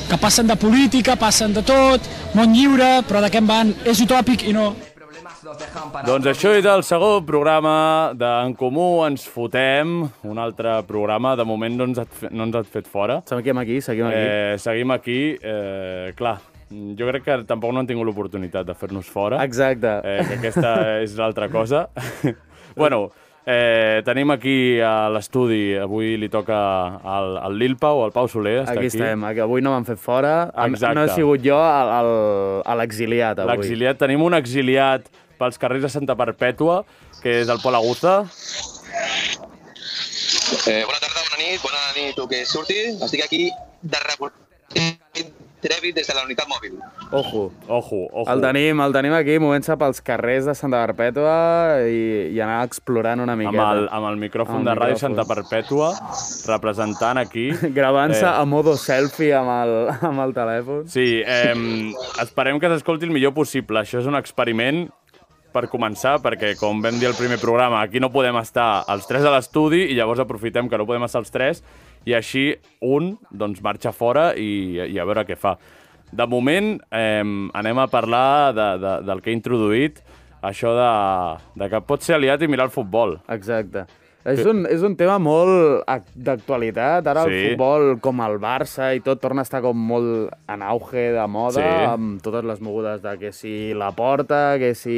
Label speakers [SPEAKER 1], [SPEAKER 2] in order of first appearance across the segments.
[SPEAKER 1] que passen de política, passen de tot, món lliure, però de què en van? És utòpic i no.
[SPEAKER 2] Problemas los dejan para
[SPEAKER 3] Doncs això és el segon programa d'En Comú Ens Fotem, un altre programa. De moment no ens has, fe- no ens has fet fora.
[SPEAKER 4] Seguim aquí, seguim aquí. Eh...
[SPEAKER 3] Eh, seguim aquí. Eh, clar, jo crec que tampoc no han tingut l'oportunitat de fer-nos fora.
[SPEAKER 4] Exacte.
[SPEAKER 3] Eh, que aquesta és l'altra cosa. bueno, eh, tenim aquí a l'estudi, avui li toca al, al Lil Pau, al Pau Soler, està
[SPEAKER 4] Aquí
[SPEAKER 3] aquí.
[SPEAKER 4] estem, aquí. avui no m'han fet fora. Em-
[SPEAKER 3] Exacte.
[SPEAKER 4] No he sigut jo el- el- a l'exiliat avui.
[SPEAKER 3] L'exiliat, tenim un exiliat pels carrers de Santa Perpètua, que és el Pol Agusta.
[SPEAKER 5] Eh, bona tarda, bona nit, bona nit tu que surti. Estic aquí de reporter Trevi des de la unitat mòbil.
[SPEAKER 4] Ojo.
[SPEAKER 3] Ojo, ojo.
[SPEAKER 4] El tenim, el tenim aquí, movent-se pels carrers de Santa Perpètua i, i anar explorant una
[SPEAKER 3] Amb
[SPEAKER 4] miqueta.
[SPEAKER 3] el, amb el micròfon
[SPEAKER 4] Amb
[SPEAKER 3] de
[SPEAKER 4] el
[SPEAKER 3] Ràdio
[SPEAKER 4] micròfon.
[SPEAKER 3] Santa Perpètua, representant aquí.
[SPEAKER 4] Gravant-se
[SPEAKER 3] Eh.
[SPEAKER 4] a modo selfie amb el, amb el telèfon.
[SPEAKER 3] Sí, eh, esperem que s'escolti el millor possible. Això és un experiment per començar, perquè com vam dir al primer programa, aquí no podem estar els tres a l'estudi i llavors aprofitem que no podem estar els tres i així un doncs, marxa fora i, i a veure què fa. De moment eh, anem a parlar de, de, del que he introduït, això de, de que pot ser aliat i mirar el futbol.
[SPEAKER 4] Exacte. És un, és un tema molt ac- d'actualitat. Ara sí.
[SPEAKER 3] Sí.
[SPEAKER 4] el futbol, com el Barça i tot, torna a estar com molt en auge de moda,
[SPEAKER 3] Sí.
[SPEAKER 4] sí. amb totes les mogudes de que si la porta, que si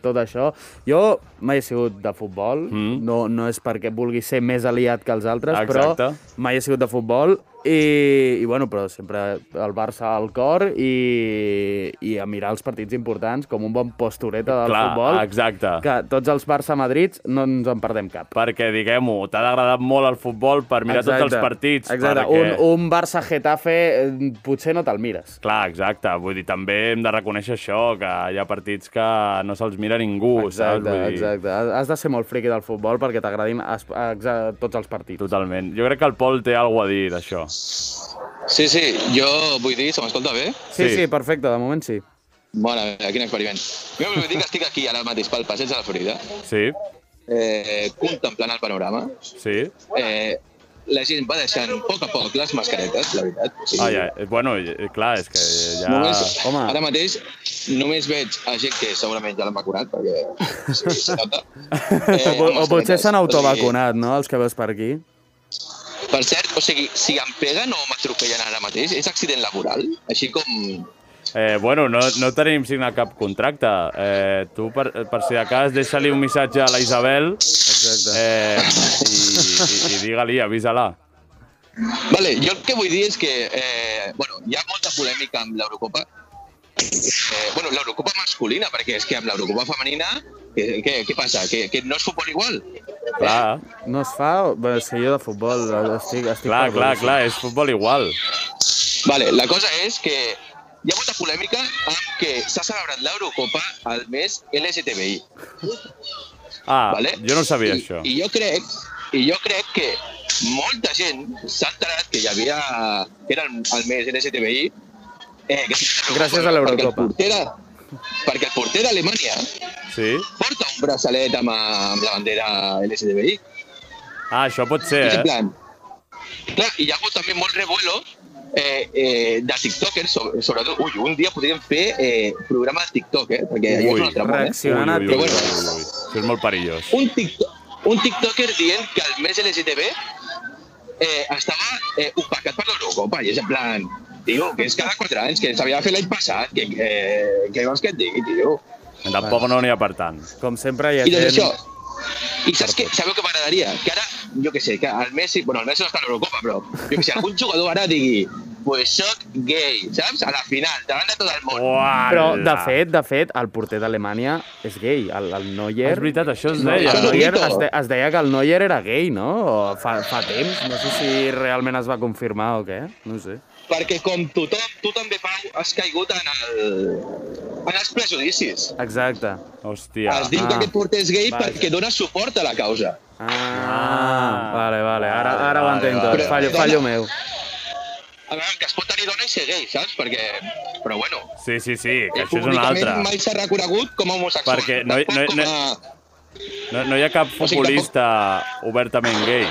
[SPEAKER 4] tot això. Jo mai he sigut de futbol, mm. no, no és perquè vulgui ser més aliat que els altres,
[SPEAKER 3] Exacte.
[SPEAKER 4] però mai he sigut de futbol. I, i bueno, però sempre el Barça al cor i, i a mirar els partits importants com un bon postureta del
[SPEAKER 3] Clar,
[SPEAKER 4] futbol
[SPEAKER 3] exacte.
[SPEAKER 4] que tots els Barça-Madrids no ens en perdem cap.
[SPEAKER 3] Perquè, diguem-ho, t'ha d'agradar molt el futbol per mirar tots els partits.
[SPEAKER 4] Exacte,
[SPEAKER 3] perquè...
[SPEAKER 4] un, un Barça-Getafe eh, potser no te'l mires.
[SPEAKER 3] Clar, exacte. Vull dir, també hem de reconèixer això, que hi ha partits que no se'ls mira ningú, saps?
[SPEAKER 4] Exacte,
[SPEAKER 3] Vull dir,
[SPEAKER 4] exacte. Has- Has de ser molt friqui del futbol perquè t'agradin es- exa- tots els partits.
[SPEAKER 3] Totalment. Jo crec que el Pol té alguna a dir d'això.
[SPEAKER 5] Sí, sí, jo vull dir, se m'escolta bé?
[SPEAKER 4] Sí,
[SPEAKER 3] sí.
[SPEAKER 4] sí, perfecte, de moment sí.
[SPEAKER 5] Bona, mira, quin experiment. Jo vull dir que estic aquí ara mateix pel passeig de la Florida,
[SPEAKER 3] Sí,
[SPEAKER 5] eh, contemplant el panorama.
[SPEAKER 3] sí.
[SPEAKER 5] Eh, la gent va deixant a poc a poc les mascaretes, la veritat. O sigui,
[SPEAKER 3] Ah, ja. eh, Bueno, eh, clar, és que ja...
[SPEAKER 5] Només,
[SPEAKER 4] home.
[SPEAKER 5] ara mateix només veig a gent que segurament ja l'ha vacunat, perquè sí, se nota.
[SPEAKER 4] O,
[SPEAKER 5] Eh,
[SPEAKER 4] po- o
[SPEAKER 5] amb
[SPEAKER 4] potser
[SPEAKER 5] mascaretes.
[SPEAKER 4] s'han
[SPEAKER 5] O sigui,
[SPEAKER 4] autovacunat, no?, els que veus per aquí.
[SPEAKER 5] Per cert, o sigui, si em peguen o m'atropellen ara mateix, és accident laboral? Així com...
[SPEAKER 3] Eh, bueno, no, no tenim signat cap contracte. Eh, tu, per, per si de cas, deixa-li un missatge a la Isabel
[SPEAKER 4] Exacte.
[SPEAKER 3] eh, i, i, i digue-li, avisa-la.
[SPEAKER 5] Vale, jo el que vull dir és que, eh, bueno, hi ha molta polèmica amb l'Eurocopa. Eh, bueno, l'Eurocopa masculina, perquè és que amb l'Eurocopa femenina, què, què, què passa? Que, que no es futbol igual?
[SPEAKER 3] Clar,
[SPEAKER 4] No es fa... Bé, és que jo de futbol eh, estic... estic
[SPEAKER 3] clar, clar,
[SPEAKER 4] perdut.
[SPEAKER 3] clar, és futbol igual.
[SPEAKER 5] Vale, la cosa és que hi ha molta polèmica amb que s'ha celebrat l'Eurocopa al mes LGTBI.
[SPEAKER 3] Ah,
[SPEAKER 5] vale?
[SPEAKER 3] jo no ho sabia,
[SPEAKER 5] I,
[SPEAKER 3] això.
[SPEAKER 5] I jo crec, i jo crec que molta gent s'ha enterat que hi havia... que era el, el mes LGTBI... Eh, que
[SPEAKER 4] Gràcies a l'Eurocopa.
[SPEAKER 5] Perquè el porter, de- perquè el porter d'Alemanya
[SPEAKER 3] Sí?
[SPEAKER 5] porta un un braçalet amb, amb la bandera
[SPEAKER 3] Eh.
[SPEAKER 5] LSDBI.
[SPEAKER 3] Ah, això pot ser,
[SPEAKER 5] En
[SPEAKER 3] eh?
[SPEAKER 5] plan... Clar, i hi ha hagut també molt revuelo eh, eh, de TikTokers, sobre- sobretot... Ui, un dia podríem fer eh, programa de TikTok, eh? Perquè allò és
[SPEAKER 3] Ui,
[SPEAKER 5] un altre món, eh?
[SPEAKER 4] Reaccionant a
[SPEAKER 3] ui, ui,
[SPEAKER 5] Però
[SPEAKER 3] ui,
[SPEAKER 5] bueno.
[SPEAKER 3] ui. Això és molt perillós.
[SPEAKER 5] Un, TikTok, un TikToker dient que el mes LGTB eh, estava eh, opacat per l'Eurocopa, i és en plan... Tio, que és cada 4 anys, que s'havia de fer l'any passat, que, eh, que vols que et digui, tio?
[SPEAKER 3] Tampoc no n'hi ha per tant.
[SPEAKER 4] Com sempre hi ha
[SPEAKER 5] I doncs això,
[SPEAKER 4] gent...
[SPEAKER 5] i saps què? Sabeu què m'agradaria? Que ara, jo què sé, que el Messi, bueno, el Messi no està a l'Eurocopa, però jo què sé, algun jugador ara digui pues soc gay, saps? A la final, davant de tot el món.
[SPEAKER 3] Uala.
[SPEAKER 4] Però, de
[SPEAKER 3] Ah.
[SPEAKER 4] fet, de fet, el porter d'Alemanya és gay, el, el Neuer.
[SPEAKER 3] És veritat, això es
[SPEAKER 4] No,
[SPEAKER 3] deia.
[SPEAKER 4] el
[SPEAKER 5] Això és un
[SPEAKER 4] Neuer
[SPEAKER 5] mito.
[SPEAKER 4] es, de, es deia que el Neuer era gay, no? O Fa, fa temps, no sé si realment es va confirmar o què, no ho sé.
[SPEAKER 5] Perquè com tothom, tu també, Pau, has caigut en, el, en els prejudicis.
[SPEAKER 4] Exacte.
[SPEAKER 3] Hòstia.
[SPEAKER 5] es diu
[SPEAKER 4] ah,
[SPEAKER 5] que aquest porter és gay
[SPEAKER 4] vaja.
[SPEAKER 5] perquè dona suport a la causa.
[SPEAKER 4] Ah,
[SPEAKER 3] Ah.
[SPEAKER 4] vale, vale, ara,
[SPEAKER 3] Vale,
[SPEAKER 4] ara ho entenc
[SPEAKER 3] vale,
[SPEAKER 4] tot.
[SPEAKER 5] vale.
[SPEAKER 4] fallo, fallo meu.
[SPEAKER 5] A veure, que es pot tenir dona i ser gay, saps? Perquè, però bueno,
[SPEAKER 3] Sí, sí, sí, que
[SPEAKER 5] eh,
[SPEAKER 3] això és una altra.
[SPEAKER 5] mai s'ha reconegut com a homosexual.
[SPEAKER 3] Perquè no hi- no hi-
[SPEAKER 5] Tampoc
[SPEAKER 3] no hi-
[SPEAKER 5] com a-
[SPEAKER 3] No, no hi ha cap
[SPEAKER 5] O sigui, tampoc-
[SPEAKER 3] futbolista obertament gay.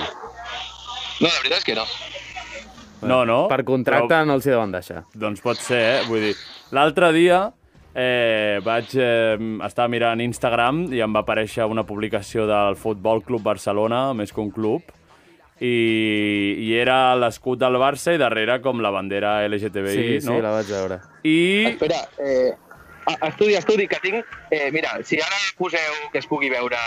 [SPEAKER 5] No, la veritat és que no.
[SPEAKER 3] No, no.
[SPEAKER 4] Per contracte
[SPEAKER 3] però-
[SPEAKER 4] no els hi deuen deixar.
[SPEAKER 3] Doncs pot ser, eh? Vull dir, l'altre dia eh, vaig eh, estar mirant Instagram i em va aparèixer una publicació del Futbol Club Barcelona, més que un club, i, i era l'escut del Barça i darrere com la bandera LGTBI,
[SPEAKER 4] Sí,
[SPEAKER 3] no?
[SPEAKER 4] sí, la vaig veure.
[SPEAKER 3] I...
[SPEAKER 5] Espera, eh, a- estudi, estudi, que tinc... Eh, mira, si ara poseu que es pugui veure eh,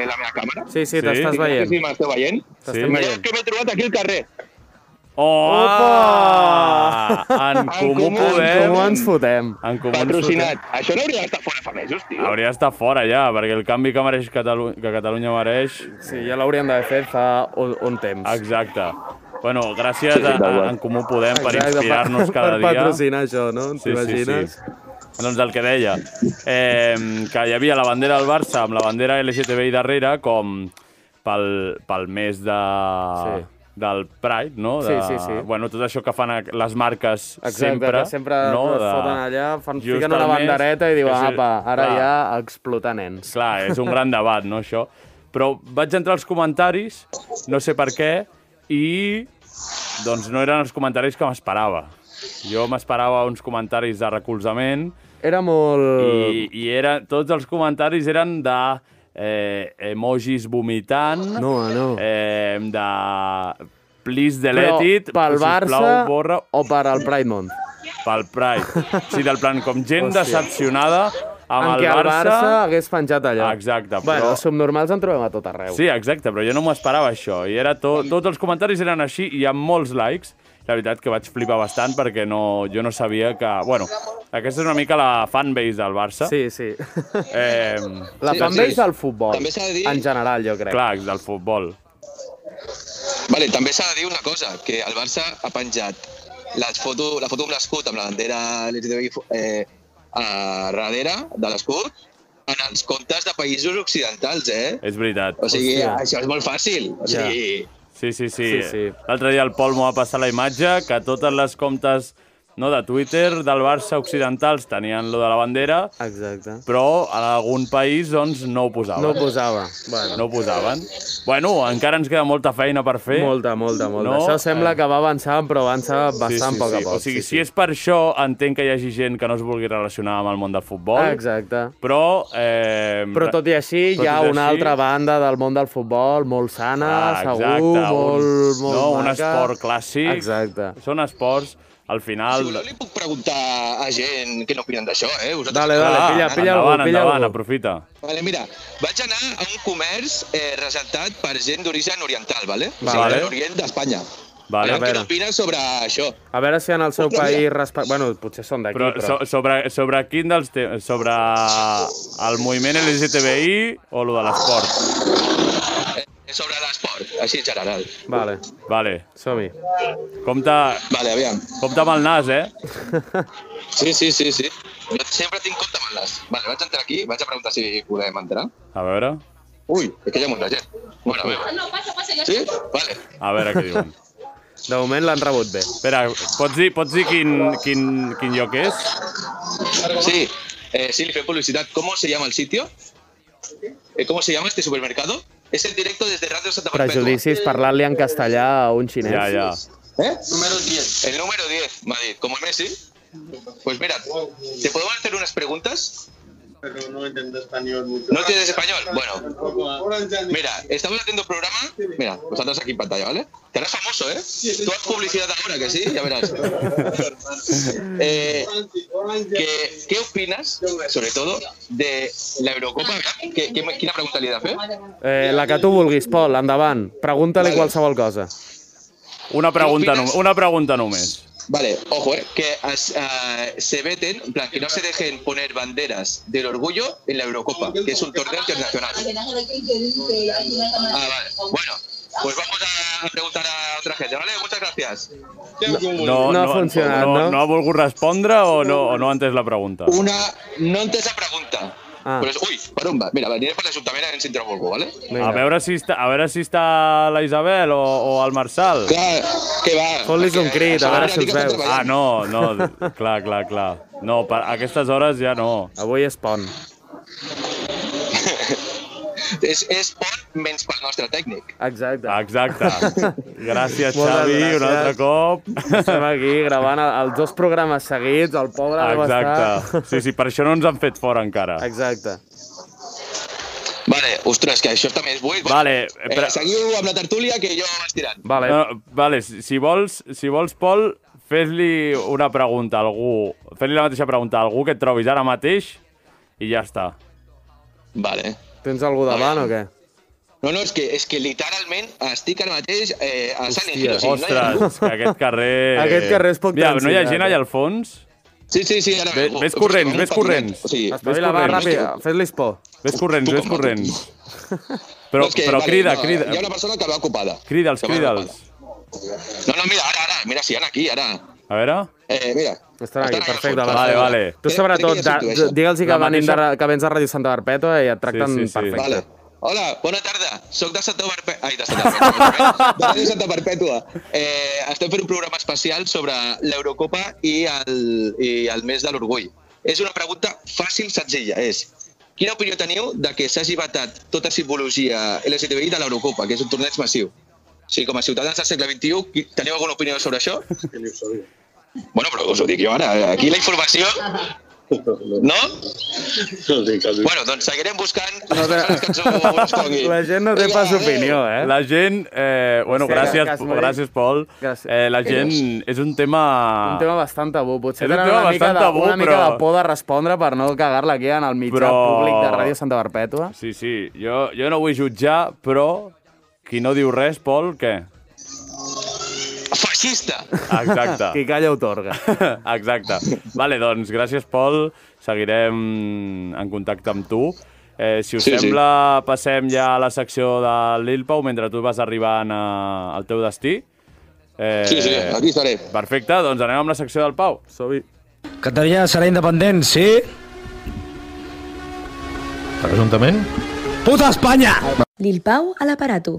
[SPEAKER 5] la meva càmera...
[SPEAKER 4] Sí, sí,
[SPEAKER 3] Sí?
[SPEAKER 4] t'estàs
[SPEAKER 3] Sí,
[SPEAKER 5] Veient.
[SPEAKER 4] veient.
[SPEAKER 5] Si m'esteu veient?
[SPEAKER 3] Sí?
[SPEAKER 4] T'estem
[SPEAKER 5] Mireu
[SPEAKER 4] veient.
[SPEAKER 5] que m'he trobat aquí al carrer.
[SPEAKER 3] Opa! oh, En comú
[SPEAKER 5] Comú
[SPEAKER 3] podem...
[SPEAKER 5] Podem.
[SPEAKER 4] Com ens fotem?
[SPEAKER 3] En comú ens
[SPEAKER 5] Patrocinat. Això no hauria d'estar fora fa mesos,
[SPEAKER 3] fotem.
[SPEAKER 5] tio.
[SPEAKER 3] Hauria d'estar fora ja, perquè el canvi que, mereix Catalu que Catalunya mereix...
[SPEAKER 4] Sí, ja l'hauríem d'haver fet fa un, un temps.
[SPEAKER 3] Exacte. Bueno, gràcies
[SPEAKER 5] Sí, sí,
[SPEAKER 3] a, a
[SPEAKER 5] d'acord.
[SPEAKER 3] En Comú Podem per
[SPEAKER 4] Exacte,
[SPEAKER 3] inspirar-nos cada
[SPEAKER 4] Per
[SPEAKER 3] dia.
[SPEAKER 4] patrocinar això, no? T'imagines?
[SPEAKER 3] Doncs el que deia, eh, que hi havia la bandera del Barça amb la bandera LGTBI darrere com pel, pel mes de...
[SPEAKER 4] Sí.
[SPEAKER 3] del Pride, no? De,
[SPEAKER 4] Sí, sí, sí.
[SPEAKER 3] Bueno, tot això que fan a- les marques
[SPEAKER 4] Exacte,
[SPEAKER 3] sempre.
[SPEAKER 4] que sempre
[SPEAKER 3] no?
[SPEAKER 4] es foten allà, fan,
[SPEAKER 3] Just
[SPEAKER 4] fiquen
[SPEAKER 3] al
[SPEAKER 4] una
[SPEAKER 3] mes,
[SPEAKER 4] bandereta i diuen,
[SPEAKER 3] que sí,
[SPEAKER 4] apa, ara
[SPEAKER 3] clar.
[SPEAKER 4] ja a explotar nens.
[SPEAKER 3] Clar, és un gran debat, no, això? Però vaig entrar als comentaris, no sé per què, i doncs no eren els comentaris que m'esperava. Jo m'esperava uns comentaris de recolzament
[SPEAKER 4] Era molt...
[SPEAKER 3] i, i era, tots els comentaris eren de eh, emojis vomitant,
[SPEAKER 4] No, no.
[SPEAKER 3] eh, de please
[SPEAKER 4] Però
[SPEAKER 3] delete it,
[SPEAKER 4] pel Barça
[SPEAKER 3] sisplau, borra,
[SPEAKER 4] o per al Pride Month.
[SPEAKER 3] pel Pride. O sigui, del plan, com gent
[SPEAKER 4] Hòstia.
[SPEAKER 3] decepcionada amb
[SPEAKER 4] en
[SPEAKER 3] el
[SPEAKER 4] què el Barça,
[SPEAKER 3] Barça
[SPEAKER 4] hagués penjat allà.
[SPEAKER 3] Exacte, però-
[SPEAKER 4] Bueno, els subnormals en trobem a tot arreu.
[SPEAKER 3] Sí, exacte, però jo no m'ho esperava això. I era to tots els comentaris eren així i amb molts likes. La veritat que vaig flipar bastant perquè no, jo no sabia que... Bueno, aquesta és una mica la fanbase del Barça.
[SPEAKER 4] sí. sí.
[SPEAKER 3] Eh,
[SPEAKER 4] La
[SPEAKER 5] Sí,
[SPEAKER 4] fanbase
[SPEAKER 5] sí.
[SPEAKER 4] del futbol,
[SPEAKER 5] També s'ha de dir-
[SPEAKER 4] en general, jo crec.
[SPEAKER 3] clar, del futbol.
[SPEAKER 5] Vale, també s'ha de dir una cosa, que el Barça ha penjat la foto, la foto amb l'escut, amb la bandera LGTBI eh, a darrere de l'escut, en els comptes de països occidentals, eh?
[SPEAKER 3] És veritat.
[SPEAKER 5] O sigui,
[SPEAKER 4] Hòstia.
[SPEAKER 5] això és molt fàcil. O
[SPEAKER 4] Ja.
[SPEAKER 5] sigui,
[SPEAKER 3] Sí, sí, sí.
[SPEAKER 4] Sí, sí.
[SPEAKER 3] L'altre dia el Pol m'ho va passar la imatge que totes les comptes no, de Twitter del Barça occidentals tenien lo de la bandera,
[SPEAKER 4] Exacte.
[SPEAKER 3] però en algun país doncs, no ho posaven.
[SPEAKER 4] No ho posava. Bueno,
[SPEAKER 3] no ho posaven. Bueno, encara ens queda molta feina per fer.
[SPEAKER 4] Molta, molta, molta.
[SPEAKER 3] No,
[SPEAKER 4] Això sembla
[SPEAKER 3] eh.
[SPEAKER 4] que va avançant, però avança bastant poc a poc.
[SPEAKER 3] O sigui, si és per això, entenc que hi hagi gent que no es vulgui relacionar amb el món del futbol.
[SPEAKER 4] Exacte.
[SPEAKER 3] Però... Eh,
[SPEAKER 4] Però tot i així,
[SPEAKER 3] Però
[SPEAKER 4] hi ha
[SPEAKER 3] tot i
[SPEAKER 4] una
[SPEAKER 3] així-
[SPEAKER 4] altra banda del món del futbol, molt sana,
[SPEAKER 3] Ah,
[SPEAKER 4] segur,
[SPEAKER 3] exacte, un-
[SPEAKER 4] molt, molt
[SPEAKER 3] no, un
[SPEAKER 4] maca.
[SPEAKER 3] esport clàssic.
[SPEAKER 4] Exacte.
[SPEAKER 3] Són esports, al final...
[SPEAKER 5] si voleu li puc preguntar a gent què n'opinen d'això, eh? Vosaltres...
[SPEAKER 4] Dale, dale,
[SPEAKER 3] Ah,
[SPEAKER 4] pilla, pilla
[SPEAKER 3] endavant,
[SPEAKER 4] algú, pilla
[SPEAKER 3] endavant,
[SPEAKER 4] algú.
[SPEAKER 3] aprofita.
[SPEAKER 5] Vale, mira, vaig anar a un comerç eh, resaltat per gent d'origen oriental, vale? O sigui,
[SPEAKER 3] Vale.
[SPEAKER 5] de l'Orient d'Espanya.
[SPEAKER 3] Vale,
[SPEAKER 5] Vale,
[SPEAKER 3] a
[SPEAKER 5] què
[SPEAKER 3] veure.
[SPEAKER 5] n'opines sobre això?
[SPEAKER 4] A veure si en el seu
[SPEAKER 5] Hòstia.
[SPEAKER 4] país... Respe... Bueno, potser són d'aquí,
[SPEAKER 3] Però,
[SPEAKER 4] però...
[SPEAKER 3] so, sobre, sobre quin dels temes? Sobre el moviment LGTBI o lo de l'esport?
[SPEAKER 5] Eh, Sobre l'esport, així en general.
[SPEAKER 4] Vale,
[SPEAKER 3] Vale.
[SPEAKER 4] som-hi.
[SPEAKER 3] Compte,
[SPEAKER 5] Vale, aviam.
[SPEAKER 3] compte amb el nas, eh?
[SPEAKER 5] Sí, sí, sí, sí. Jo sempre tinc compte amb el nas. Vale, vaig entrar aquí, vaig a preguntar si podem entrar.
[SPEAKER 3] A veure...
[SPEAKER 5] Ui, és que hi ha molta gent. Bueno, a veure. No, passa, passa. Sí? Vale.
[SPEAKER 3] A veure què diuen.
[SPEAKER 4] De moment l'han rebut bé.
[SPEAKER 3] Espera, pots dir, pots dir quin, quin, quin lloc és?
[SPEAKER 5] Sí, eh, sí, li fem publicitat. ¿Cómo se llama el sitio? eh, ¿Cómo se llama este supermercado? Es el directo desde Radio Santa Perpetua.
[SPEAKER 4] Prejudicis, parlar-li en castellà a un xinès.
[SPEAKER 3] Ja, ja.
[SPEAKER 5] ¿Eh? Número 10. El número 10, Madrid. ¿Como Messi? Pues mira, ¿te podemos hacer unas preguntas?
[SPEAKER 6] Pero no entiendo español mucho.
[SPEAKER 5] ¿No tienes español? Bueno, mira, estamos haciendo programa. Mira, vosotros aquí en pantalla, ¿vale? Te harás famoso, ¿eh? Tú haz publicidad ahora, que sí, ya verás. Eh, ¿qué, qué opinas, sobre todo, de la Eurocopa? ¿Qué, qué, quina pregunta li he de fer?
[SPEAKER 4] Eh, la que tu vulguis, Pol, endavant. Pregunta-li
[SPEAKER 5] Vale.
[SPEAKER 4] qualsevol cosa.
[SPEAKER 3] Una pregunta,
[SPEAKER 5] Què opines?
[SPEAKER 3] nom- una pregunta només.
[SPEAKER 5] Vale, ojo, eh, que as- ah, se veten, en plan, que no se dejen poner banderas del orgullo en la Eurocopa, que es un torneo internacional. Ah, vale. Bueno, pues vamos a preguntar a otra gente, ¿vale? Muchas gracias.
[SPEAKER 3] No,
[SPEAKER 4] No ha funcionat,
[SPEAKER 3] no,
[SPEAKER 4] no?
[SPEAKER 3] no ha volgut respondre o no, o no ha entès la pregunta?
[SPEAKER 5] Una, no antes la pregunta.
[SPEAKER 4] Ah.
[SPEAKER 5] Pues, uy, per on va? Mira, aniré per l'Ajuntament en Centre Volvo, ¿vale?
[SPEAKER 3] A veure si està, a veure si està la Isabel o, o el Marçal.
[SPEAKER 5] Clar, que va.
[SPEAKER 4] Fot-lis un crit, a veure si els veus.
[SPEAKER 3] Ah, no, no, clar, clar, clar. No, per, a aquestes hores ja no.
[SPEAKER 4] Avui és pont.
[SPEAKER 5] És, és pont menys pel nostre tècnic.
[SPEAKER 4] Exacte.
[SPEAKER 3] Exacte. Gràcies,
[SPEAKER 4] Moltes
[SPEAKER 3] Xavi,
[SPEAKER 4] gràcies.
[SPEAKER 3] un altre cop.
[SPEAKER 4] Estem aquí gravant el- els dos programes seguits, el pobre deu
[SPEAKER 3] Exacte.
[SPEAKER 4] estar...
[SPEAKER 3] Sí, sí, per això no ens han fet fora encara.
[SPEAKER 4] Exacte.
[SPEAKER 5] Vale, ostres, que això també és buit.
[SPEAKER 3] Vale, però-
[SPEAKER 5] eh, seguiu amb la tertúlia que jo vaig tirant.
[SPEAKER 4] Vale.
[SPEAKER 3] No, vale, si, si vols, si vols Pol, fes-li una pregunta a algú. Fes-li la mateixa pregunta a algú que et trobis ara mateix i ja està.
[SPEAKER 5] Vale.
[SPEAKER 4] Tens algú davant o què?
[SPEAKER 5] No, no, és que, és que literalment estic ara mateix eh, a Sant Isidro. sí, no hi ha ningú.
[SPEAKER 3] Ostres, que aquest carrer...
[SPEAKER 4] Aquest carrer és poc
[SPEAKER 3] Mira, no hi ha
[SPEAKER 4] transitat,
[SPEAKER 3] gent
[SPEAKER 4] eh?
[SPEAKER 3] allà al fons?
[SPEAKER 5] Sí, sí, sí. Ara
[SPEAKER 3] Ve-
[SPEAKER 5] vengo.
[SPEAKER 3] ves corrents, ves corrents.
[SPEAKER 5] O sigui,
[SPEAKER 4] Espavila, va,
[SPEAKER 3] corrents.
[SPEAKER 4] ràpid, fes-li por.
[SPEAKER 3] Ves corrents,
[SPEAKER 5] Tu
[SPEAKER 3] ves
[SPEAKER 5] com a tu.
[SPEAKER 3] corrents. Però,
[SPEAKER 5] no, és que,
[SPEAKER 3] però
[SPEAKER 5] vale,
[SPEAKER 3] crida,
[SPEAKER 5] no,
[SPEAKER 3] crida.
[SPEAKER 5] Hi ha una persona que va ocupada.
[SPEAKER 3] Crida'ls,
[SPEAKER 5] Que va
[SPEAKER 3] crida'ls.
[SPEAKER 5] ocupada. No, no, mira, ara, ara. Mira, si han aquí, ara.
[SPEAKER 3] A veure...
[SPEAKER 5] Eh, mira.
[SPEAKER 4] Estan aquí,
[SPEAKER 5] al
[SPEAKER 4] perfecte.
[SPEAKER 5] fons.
[SPEAKER 3] Vale, vale.
[SPEAKER 4] Tu
[SPEAKER 5] Crec-
[SPEAKER 4] sobretot,
[SPEAKER 5] crec que ja
[SPEAKER 4] de-
[SPEAKER 5] s'intueix.
[SPEAKER 4] digue'ls que,
[SPEAKER 3] La
[SPEAKER 4] venim de,
[SPEAKER 3] mateixa-
[SPEAKER 4] ra- que vens a Ràdio Santa Barpètua i et tracten
[SPEAKER 3] Sí, sí, sí.
[SPEAKER 4] perfecte.
[SPEAKER 5] Vale. Hola, bona tarda. Soc de Santa Perpètua. Ai, de Santa Perpètua. de Ràdio Santa Perpètua. Eh, estem fent un programa especial sobre l'Eurocopa i, el, i el mes de l'orgull. És una pregunta fàcil, senzilla. És, quina opinió teniu de que s'hagi vetat tota simbologia LGTBI de l'Eurocopa, que és un torneig massiu? O sigui, com a ciutadans del segle XXI, qui- teniu alguna opinió sobre això? bueno, però us ho dic jo ara. Aquí la informació... No? Bueno, doncs seguirem buscant
[SPEAKER 4] No
[SPEAKER 5] les
[SPEAKER 4] té-
[SPEAKER 5] persones que ens ho responguin.
[SPEAKER 4] La gent no té
[SPEAKER 5] Vinga,
[SPEAKER 4] pas
[SPEAKER 5] adéu.
[SPEAKER 4] opinió, eh?
[SPEAKER 3] La gent... Eh, bueno,
[SPEAKER 4] Sí,
[SPEAKER 3] gràcies,
[SPEAKER 4] gràcies, Marí.
[SPEAKER 3] gràcies, Pol.
[SPEAKER 4] Gràcies.
[SPEAKER 3] Eh, la gent... És un tema...
[SPEAKER 4] Un tema bastant tabú. Potser
[SPEAKER 3] És un
[SPEAKER 4] tenen
[SPEAKER 3] tema
[SPEAKER 4] una, mica
[SPEAKER 3] bastant
[SPEAKER 4] de,
[SPEAKER 3] tabú,
[SPEAKER 4] una mica
[SPEAKER 3] però-
[SPEAKER 4] de por de respondre per no cagar-la aquí en el mitjà
[SPEAKER 3] Però-
[SPEAKER 4] públic de Ràdio Santa Barpètua.
[SPEAKER 3] Sí, sí, jo, jo no vull jutjar, però qui no diu res, Pol, què?
[SPEAKER 5] Feixista!
[SPEAKER 3] Exacte.
[SPEAKER 4] Qui calla otorga.
[SPEAKER 3] Exacte. Vale, doncs gràcies, Pol. Seguirem en contacte amb tu. Eh, si us sí,
[SPEAKER 5] Sí, sí.
[SPEAKER 3] sembla, sí. passem ja a la secció de Lil Pau mentre tu vas arribant a, al teu destí. Eh,
[SPEAKER 5] Sí, sí, aquí estaré.
[SPEAKER 3] Perfecte, doncs anem amb la secció del Pau.
[SPEAKER 4] Sobi.
[SPEAKER 7] Catalunya serà independent, sí?
[SPEAKER 8] Presumptament?
[SPEAKER 7] Puta Espanya!
[SPEAKER 9] Lil Pau a l'aparato.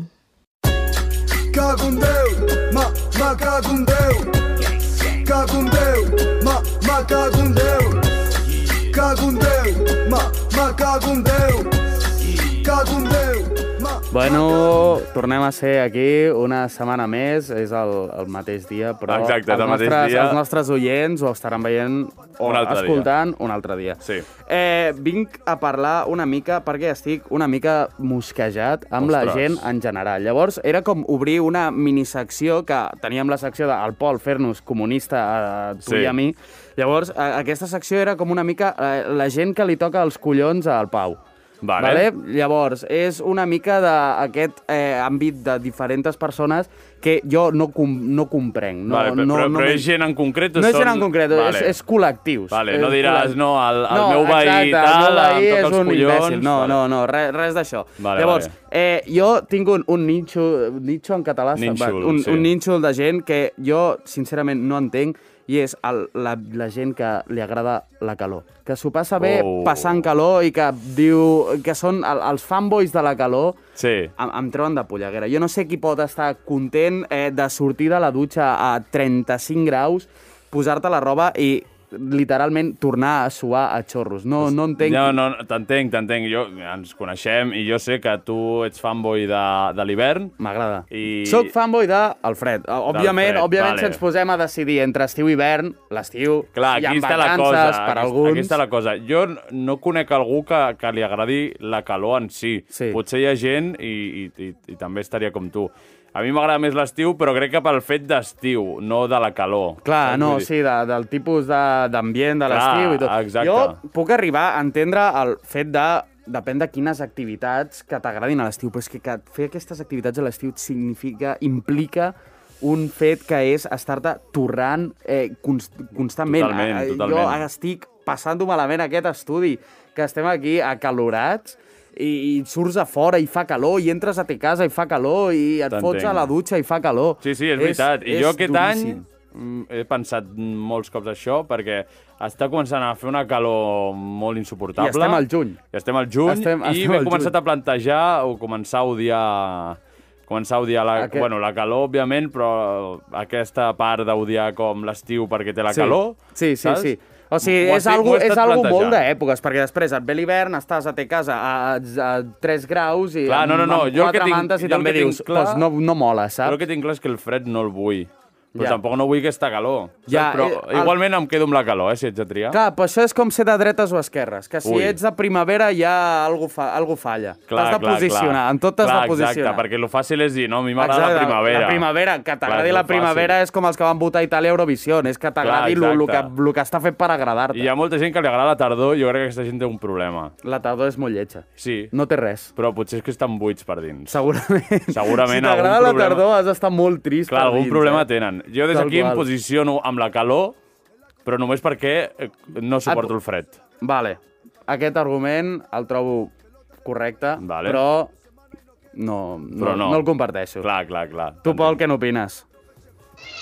[SPEAKER 4] Bueno, tornem a ser aquí una setmana més, és el, el mateix dia, però
[SPEAKER 3] Exacte, és el
[SPEAKER 4] els,
[SPEAKER 3] mateix
[SPEAKER 4] nostres,
[SPEAKER 3] dia.
[SPEAKER 4] els nostres oients ho estaran veient o
[SPEAKER 3] Un altre dia.
[SPEAKER 4] escoltant dia. un altre dia.
[SPEAKER 3] Sí.
[SPEAKER 4] Eh, vinc a parlar una mica, perquè estic una mica mosquejat amb la
[SPEAKER 3] Ostres.
[SPEAKER 4] gent en general. Llavors, era com obrir una minissecció que teníem la secció del Pol fer-nos comunista a tu
[SPEAKER 3] Sí.
[SPEAKER 4] sí. i a mi. Llavors, a, aquesta secció era com una mica eh, la gent que li toca els collons al Pau.
[SPEAKER 3] Vale.
[SPEAKER 4] Llavors, és una mica d'aquest eh, àmbit de diferents persones que jo no, com, no comprenc. No,
[SPEAKER 3] vale, però,
[SPEAKER 4] no,
[SPEAKER 3] però,
[SPEAKER 4] no
[SPEAKER 3] però
[SPEAKER 4] m'en-
[SPEAKER 3] és gent en concret? o
[SPEAKER 4] no és gent
[SPEAKER 3] són-
[SPEAKER 4] en concret, vale. és, és col·lectius.
[SPEAKER 3] Vale,
[SPEAKER 4] És
[SPEAKER 3] no diràs,
[SPEAKER 4] col·lec-
[SPEAKER 3] no, el, el
[SPEAKER 4] No,
[SPEAKER 3] meu veí
[SPEAKER 4] exacte, el
[SPEAKER 3] tal,
[SPEAKER 4] meu
[SPEAKER 3] em
[SPEAKER 4] veí
[SPEAKER 3] toca
[SPEAKER 4] és
[SPEAKER 3] els
[SPEAKER 4] un
[SPEAKER 3] collons...
[SPEAKER 4] imbècil. No,
[SPEAKER 3] Vale.
[SPEAKER 4] no, no, res, res d'això.
[SPEAKER 3] Vale,
[SPEAKER 4] Llavors,
[SPEAKER 3] vale.
[SPEAKER 4] eh, jo tinc un, un ninxo, ninxo en català, se'n va-
[SPEAKER 3] Nínxol,
[SPEAKER 4] un,
[SPEAKER 3] sí.
[SPEAKER 4] un ninxo de gent que jo, sincerament, no entenc, i és el, la, la gent que li agrada la calor. Que s'ho passa bé
[SPEAKER 3] Oh.
[SPEAKER 4] passant calor i que diu que són el, els fanboys de la calor
[SPEAKER 3] Sí.
[SPEAKER 4] em, em treuen de polleguera. Jo no sé qui pot estar content eh, de sortir de la dutxa a 35 graus, posar-te la roba i literalment tornar a suar a xorros. No, no entenc...
[SPEAKER 3] No, no, no, t'entenc, t'entenc. Jo, ens coneixem i jo sé que tu ets fanboy de, de l'hivern.
[SPEAKER 4] M'agrada.
[SPEAKER 3] I-
[SPEAKER 4] Soc fanboy d'Alfred. Òbviament,
[SPEAKER 3] D'Alfred,
[SPEAKER 4] òbvient,
[SPEAKER 3] vale.
[SPEAKER 4] si ens posem a decidir entre estiu i hivern, l'estiu,
[SPEAKER 3] Clar,
[SPEAKER 4] hi ha
[SPEAKER 3] aquí està la
[SPEAKER 4] vacances
[SPEAKER 3] cosa.
[SPEAKER 4] per
[SPEAKER 3] aquí,
[SPEAKER 4] alguns...
[SPEAKER 3] Aquí està la cosa. Jo no conec algú que, que li agradi la calor en si.
[SPEAKER 4] Sí.
[SPEAKER 3] Potser hi ha gent i, i, i, i també estaria com tu. A mi m'agrada més l'estiu, però crec que pel fet d'estiu, no de la calor.
[SPEAKER 4] Clar,
[SPEAKER 3] Saps?
[SPEAKER 4] no,
[SPEAKER 3] Vull dir-
[SPEAKER 4] sí, de, del tipus de- d'ambient, de,
[SPEAKER 3] Clar,
[SPEAKER 4] l'estiu i tot.
[SPEAKER 3] exacte.
[SPEAKER 4] Jo puc arribar a entendre el fet de... Depèn de quines activitats que t'agradin a l'estiu, però és que, que fer aquestes activitats a l'estiu et significa, implica un fet que és estar-te torrant eh, const constantment.
[SPEAKER 3] Totalment,
[SPEAKER 4] Eh,
[SPEAKER 3] totalment.
[SPEAKER 4] Jo estic passant-ho malament aquest estudi, que estem aquí acalorats, i, i surts a fora i fa calor, i entres a te casa i fa calor, i et fots
[SPEAKER 3] T'entenc.
[SPEAKER 4] a la dutxa i fa calor.
[SPEAKER 3] Sí, sí, és, veritat. I jo
[SPEAKER 4] és
[SPEAKER 3] aquest
[SPEAKER 4] duríssim.
[SPEAKER 3] any mm, he pensat molts cops això perquè està començant a fer una calor molt insuportable.
[SPEAKER 4] I estem al juny.
[SPEAKER 3] I estem al juny
[SPEAKER 4] Estem-
[SPEAKER 3] i
[SPEAKER 4] estem
[SPEAKER 3] m'he
[SPEAKER 4] al
[SPEAKER 3] començat
[SPEAKER 4] juny.
[SPEAKER 3] a plantejar o començar a odiar començar a odiar la,
[SPEAKER 4] Aquest-
[SPEAKER 3] bueno, la calor, òbviament, però aquesta part d'odiar com l'estiu perquè té la
[SPEAKER 4] Sí.
[SPEAKER 3] calor,
[SPEAKER 4] Sí, sí,
[SPEAKER 3] saps?
[SPEAKER 4] sí. O sigui,
[SPEAKER 3] M'ho
[SPEAKER 4] és
[SPEAKER 3] estic- m'ho
[SPEAKER 4] algo,
[SPEAKER 3] he
[SPEAKER 4] és
[SPEAKER 3] estat
[SPEAKER 4] algo molt eh,
[SPEAKER 3] plantejant.
[SPEAKER 4] d'èpoques, perquè després et ve l'hivern, estàs a te casa a, a, a 3 graus i
[SPEAKER 3] Clar, no, no, no,
[SPEAKER 4] amb
[SPEAKER 3] jo el que
[SPEAKER 4] quatre
[SPEAKER 3] tinc-
[SPEAKER 4] mantes
[SPEAKER 3] jo
[SPEAKER 4] i
[SPEAKER 3] el
[SPEAKER 4] també
[SPEAKER 3] que tinc
[SPEAKER 4] dius,
[SPEAKER 3] clar-
[SPEAKER 4] pues no, no mola,
[SPEAKER 3] Jo
[SPEAKER 4] saps?
[SPEAKER 3] el que tinc clar és que el fred no el vull. Però
[SPEAKER 4] Ja.
[SPEAKER 3] tampoc no vull que està calor. Ja,
[SPEAKER 4] Ja,
[SPEAKER 3] però
[SPEAKER 4] eh, el-
[SPEAKER 3] igualment em quedo amb la calor, eh, si ets a triar.
[SPEAKER 4] Clar, però això és com ser de dretes o esquerres, que si
[SPEAKER 3] Ui.
[SPEAKER 4] ets de primavera ja algo, fa, algo falla.
[SPEAKER 3] Clar,
[SPEAKER 4] T'has de
[SPEAKER 3] clar,
[SPEAKER 4] posicionar,
[SPEAKER 3] clar.
[SPEAKER 4] en tot t'has
[SPEAKER 3] Clar,
[SPEAKER 4] de posicionar.
[SPEAKER 3] Exacte, perquè el fàcil és dir, no, a mi m'agrada la
[SPEAKER 4] Exacte,
[SPEAKER 3] primavera.
[SPEAKER 4] La primavera, que
[SPEAKER 3] Clar,
[SPEAKER 4] t'agradi
[SPEAKER 3] és
[SPEAKER 4] la
[SPEAKER 3] lo
[SPEAKER 4] primavera
[SPEAKER 3] fàcil.
[SPEAKER 4] és com els que van votar a Itàlia a Eurovisió, és que t'agradi el que,
[SPEAKER 3] exacte.
[SPEAKER 4] lo que està fet per agradar-te.
[SPEAKER 3] Hi ha molta gent que li agrada la tardor i jo crec que aquesta gent té un problema.
[SPEAKER 4] La tardor és molt lletja.
[SPEAKER 3] Sí,
[SPEAKER 4] No té res.
[SPEAKER 3] però potser és que estan buits per dins.
[SPEAKER 4] Segurament.
[SPEAKER 3] Segurament
[SPEAKER 4] si t'agrada
[SPEAKER 3] algun
[SPEAKER 4] la
[SPEAKER 3] problema-
[SPEAKER 4] tardor has d'estar molt trist
[SPEAKER 3] Clar,
[SPEAKER 4] per
[SPEAKER 3] algun
[SPEAKER 4] dins,
[SPEAKER 3] problema
[SPEAKER 4] eh?
[SPEAKER 3] tenen. Jo des
[SPEAKER 4] Tal
[SPEAKER 3] d'aquí em
[SPEAKER 4] qual.
[SPEAKER 3] posiciono amb la calor, però només perquè eh,
[SPEAKER 4] Ah,
[SPEAKER 3] no suporto el fred.
[SPEAKER 4] Vale. Aquest argument el trobo correcte,
[SPEAKER 3] Vale.
[SPEAKER 4] però, no,
[SPEAKER 3] Però
[SPEAKER 4] no,
[SPEAKER 3] no.
[SPEAKER 4] no el comparteixo.
[SPEAKER 3] Clar, clar, clar.
[SPEAKER 4] Tu, Pol, què n'opines?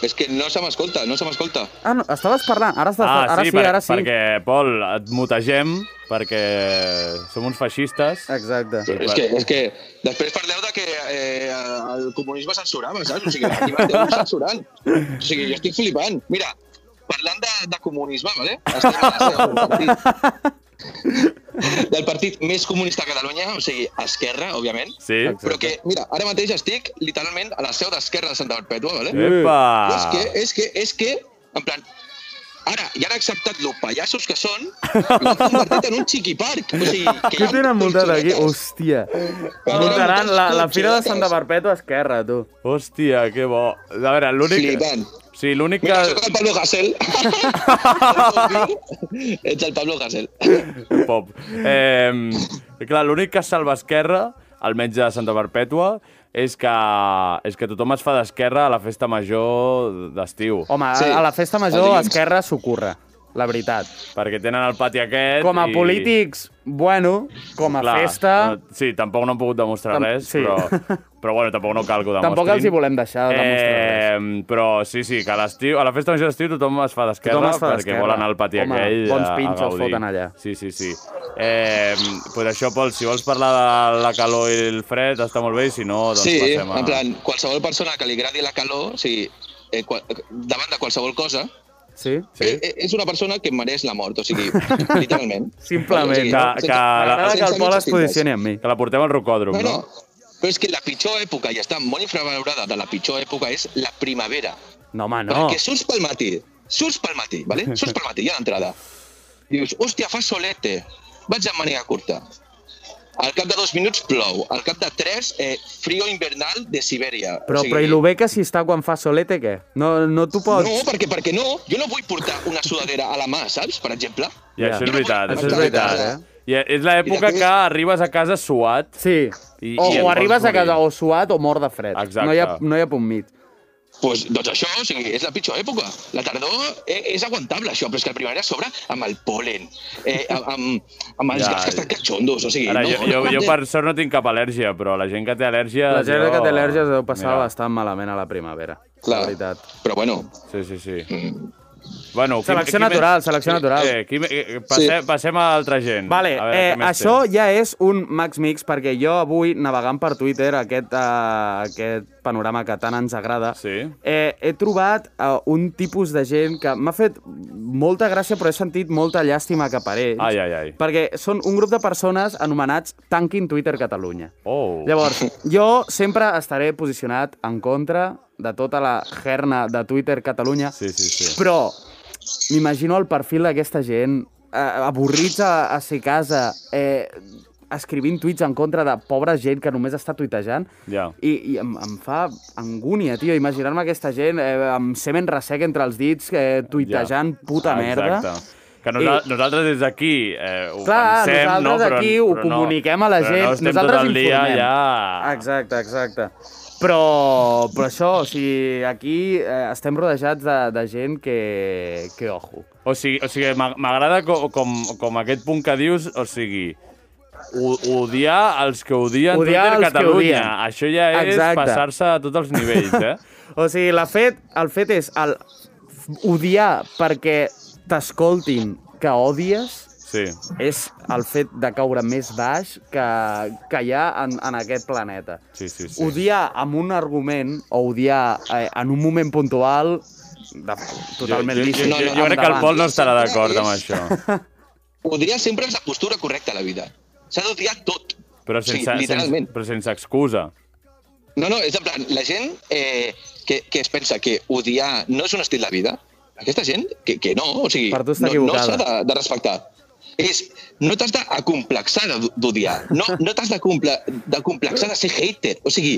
[SPEAKER 5] És que no se m'escolta, no se m'escolta.
[SPEAKER 4] Ah, no, estaves parlant. Ara, estàs,
[SPEAKER 3] Ah,
[SPEAKER 4] ara
[SPEAKER 3] sí,
[SPEAKER 4] sí,
[SPEAKER 3] per,
[SPEAKER 4] ara sí.
[SPEAKER 3] perquè, Pol, et mutegem perquè som uns feixistes.
[SPEAKER 4] Exacte.
[SPEAKER 3] Sí,
[SPEAKER 5] És
[SPEAKER 3] clar.
[SPEAKER 5] que, és que després parleu de que eh, el comunisme censurava, saps? O sigui, aquí m'esteu censurant. O sigui, jo estic flipant. Mira, parlant de, de comunisme, vale? estem a la seu del partit, del partit més comunista a Catalunya, o sigui, Esquerra, òbviament,
[SPEAKER 3] Sí?
[SPEAKER 5] però que, mira, ara mateix estic literalment a la seu d'Esquerra de Santa Perpètua, vale?
[SPEAKER 3] Epa!
[SPEAKER 5] És que, és que, és que, en plan, ara, ja han acceptat los pallassos que són i l'han convertit en un xiquiparc. O sigui, que hi
[SPEAKER 4] Què
[SPEAKER 5] ha
[SPEAKER 4] tenen muntat aquí?
[SPEAKER 5] colxonetes.
[SPEAKER 4] Hòstia.
[SPEAKER 5] Però
[SPEAKER 4] Muntaran
[SPEAKER 5] no
[SPEAKER 4] la, la
[SPEAKER 5] tots,
[SPEAKER 4] fira de
[SPEAKER 5] tots.
[SPEAKER 4] Santa Perpètua Esquerra, tu.
[SPEAKER 3] Hòstia, que bo. A veure, l'únic...
[SPEAKER 5] Flipant.
[SPEAKER 3] Sí, l'únic
[SPEAKER 5] Mira, sóc
[SPEAKER 3] que...
[SPEAKER 5] el Pablo Gasel. Ets el Pablo Gasel.
[SPEAKER 3] pop. Eh, clar, l'únic que salva Esquerra, almenys de Santa Perpètua, és que, Ah, és que tothom es fa d'esquerra a la festa major d'estiu.
[SPEAKER 4] Home,
[SPEAKER 5] Sí.
[SPEAKER 4] a, a la festa major
[SPEAKER 5] Adiós.
[SPEAKER 4] Esquerra s'ocorre, la veritat.
[SPEAKER 3] Perquè tenen el pati aquest...
[SPEAKER 4] Com a
[SPEAKER 3] Eh, i-
[SPEAKER 4] polítics, bueno, com a festa...
[SPEAKER 3] no- sí, tampoc no han pogut demostrar
[SPEAKER 4] Tam-
[SPEAKER 3] res,
[SPEAKER 4] sí.
[SPEAKER 3] però, però bueno, tampoc no cal que ho demostrin.
[SPEAKER 4] Tampoc els hi volem deixar de demostrar res.
[SPEAKER 3] Eh, però sí, sí, que a l'estiu, a la festa major d'estiu tothom es fa d'esquerra
[SPEAKER 4] Tothom es fa
[SPEAKER 3] perquè
[SPEAKER 4] d'esquerra.
[SPEAKER 3] vol anar al pati
[SPEAKER 4] Home,
[SPEAKER 3] aquell
[SPEAKER 4] bons
[SPEAKER 3] a- a
[SPEAKER 4] pinxos
[SPEAKER 3] gaudir.
[SPEAKER 4] foten allà.
[SPEAKER 3] Sí, sí, sí. Eh, pues això, Pol, si vols parlar de la calor i el fred, està molt bé, i si no, doncs
[SPEAKER 5] Sí,
[SPEAKER 3] passem a...
[SPEAKER 5] en plan, qualsevol persona que li agradi la calor, o sigui, eh, qual, davant de qualsevol cosa,
[SPEAKER 4] Sí?
[SPEAKER 3] Sí?
[SPEAKER 5] eh, eh, és una persona que mereix la mort, o sigui, literalment.
[SPEAKER 4] Simplement.
[SPEAKER 3] Que- que la-
[SPEAKER 4] M'agrada que el
[SPEAKER 5] eh,
[SPEAKER 4] Pol es
[SPEAKER 5] sense mitges tintes.
[SPEAKER 4] posicioni amb mi.
[SPEAKER 3] Que la portem al rocòdrom,
[SPEAKER 5] No,
[SPEAKER 3] no?
[SPEAKER 5] no. Però és que la pitjor època, i està molt infravalorada de la pitjor època, és la primavera.
[SPEAKER 4] No, home,
[SPEAKER 5] No.
[SPEAKER 4] no.
[SPEAKER 5] Perquè surts pel matí, surts pel matí, vale? surts pel matí, ja d'entrada. Dius, hòstia, fa solete, vaig amb màniga curta. Al cap de dos minuts plou, al cap de tres, eh, frío invernal de Sibèria.
[SPEAKER 4] Però, però i lo bé que si està quan fa solete, què? No, no t'ho pots...
[SPEAKER 5] No, perquè, perquè no, jo no vull portar una sudadera a la mà, saps, per exemple?
[SPEAKER 3] I això
[SPEAKER 4] Ja.
[SPEAKER 3] és veritat,
[SPEAKER 5] No,
[SPEAKER 3] això és
[SPEAKER 5] no,
[SPEAKER 3] veritat.
[SPEAKER 5] no,
[SPEAKER 3] I és l'època
[SPEAKER 5] I
[SPEAKER 3] que arribes a casa suat.
[SPEAKER 4] Sí.
[SPEAKER 3] I-
[SPEAKER 4] I, o,
[SPEAKER 3] i et
[SPEAKER 4] o arribes
[SPEAKER 3] vols
[SPEAKER 4] a casa
[SPEAKER 3] morir.
[SPEAKER 4] o suat o mort de fred.
[SPEAKER 3] Exacte.
[SPEAKER 4] No hi ha, no hi ha punt mig.
[SPEAKER 5] Pues, doncs això, o sigui, és la pitjor època. La tardor és, és aguantable, això, però és que el primavera sobra amb el polen, eh, amb, amb, amb els
[SPEAKER 3] Ja,
[SPEAKER 5] ja, gats que estan catxondos, o sigui...
[SPEAKER 3] Ara,
[SPEAKER 5] no,
[SPEAKER 3] jo, jo,
[SPEAKER 5] no,
[SPEAKER 3] jo
[SPEAKER 5] no.
[SPEAKER 3] per sort no tinc cap al·lèrgia, però la gent que té al·lèrgia...
[SPEAKER 4] La gent
[SPEAKER 3] jo-
[SPEAKER 4] que té al·lèrgia es deu passar
[SPEAKER 3] Mira, Mm.
[SPEAKER 4] bastant malament a la primavera.
[SPEAKER 5] Clar.
[SPEAKER 4] La veritat.
[SPEAKER 5] Però bueno,
[SPEAKER 3] Sí, sí, sí.
[SPEAKER 5] mm,
[SPEAKER 3] Bueno,
[SPEAKER 4] Selecció natural, selecció natural.
[SPEAKER 3] Eh, qui, eh, passem, sí. passem a altra gent.
[SPEAKER 4] Vale,
[SPEAKER 3] a
[SPEAKER 4] eh,
[SPEAKER 3] què més
[SPEAKER 4] això
[SPEAKER 3] tens.
[SPEAKER 4] ja és un Max Mix, perquè jo avui, navegant per Twitter, aquest, eh, aquest panorama que tant ens agrada,
[SPEAKER 3] Sí.
[SPEAKER 4] eh, he trobat eh, un tipus de gent que m'ha fet molta gràcia, però he sentit molta llàstima cap a ells.
[SPEAKER 3] Ai, ai, ai.
[SPEAKER 4] Perquè són un grup de persones anomenats Tanquin Twitter Catalunya.
[SPEAKER 3] Oh.
[SPEAKER 4] Llavors, jo sempre estaré posicionat en contra de tota la gerna de Twitter Catalunya,
[SPEAKER 3] Sí, sí, sí.
[SPEAKER 4] però m'imagino el perfil d'aquesta gent eh, avorrits a, a ser casa, eh, escrivint tuits en contra de pobra gent que només està tuitejant,
[SPEAKER 3] Ja.
[SPEAKER 4] i, i em, em fa angúnia, tio, imaginar-me aquesta gent eh, amb semen ressec entre els dits, eh, tuitejant ja. puta merda.
[SPEAKER 3] Ah, Exacte.
[SPEAKER 4] Eh.
[SPEAKER 3] Que nosaltres, I... nosaltres des d'aquí eh, ho
[SPEAKER 4] Clar,
[SPEAKER 3] pensem, no?
[SPEAKER 4] nosaltres
[SPEAKER 3] Però,
[SPEAKER 4] aquí ho
[SPEAKER 3] però
[SPEAKER 4] comuniquem
[SPEAKER 3] no,
[SPEAKER 4] a la
[SPEAKER 3] però
[SPEAKER 4] gent,
[SPEAKER 3] No estem
[SPEAKER 4] nosaltres
[SPEAKER 3] tot el dia
[SPEAKER 4] informem.
[SPEAKER 3] ja...
[SPEAKER 4] Exacte, exacte. Però, però això, o sigui, aquí eh, estem rodejats de, de gent que, que ojo.
[SPEAKER 3] O sigui, o sigui m'a- m'agrada com, com, com aquest punt que dius, o sigui, o- odiar els que odien
[SPEAKER 4] Odiar
[SPEAKER 3] Twitter
[SPEAKER 4] els que
[SPEAKER 3] Catalunya.
[SPEAKER 4] odien.
[SPEAKER 3] Això ja és
[SPEAKER 4] Exacte.
[SPEAKER 3] passar-se a tots els nivells, eh?
[SPEAKER 4] O sigui, la fet, el fet és el f- odiar perquè t'escoltin que odies
[SPEAKER 3] Sí.
[SPEAKER 4] és el fet de caure més baix que, que hi ha en, en aquest planeta.
[SPEAKER 3] Sí, sí, sí.
[SPEAKER 4] Odiar amb un argument o odiar eh, en un moment puntual de, totalment
[SPEAKER 3] jo, jo,
[SPEAKER 4] lícit.
[SPEAKER 3] jo, jo, jo
[SPEAKER 5] endavant.
[SPEAKER 3] crec que el Pol no estarà d'acord amb això.
[SPEAKER 5] Odiar sempre és la postura correcta a la vida. S'ha d'odiar tot.
[SPEAKER 3] Però
[SPEAKER 5] O sigui,
[SPEAKER 3] sense, sense,
[SPEAKER 5] literalment.
[SPEAKER 3] però sense excusa.
[SPEAKER 5] No, no, és en plan, la gent eh, que, que es pensa que odiar no és un estil de vida, aquesta gent, que, que no, o sigui,
[SPEAKER 4] Per tu està
[SPEAKER 5] no, no
[SPEAKER 4] equivocada.
[SPEAKER 5] s'ha de, de respectar. És, no t'has d'acomplexar de- d'odiar, no, no t'has d'acomple- d'acomplexar de ser hater, o sigui,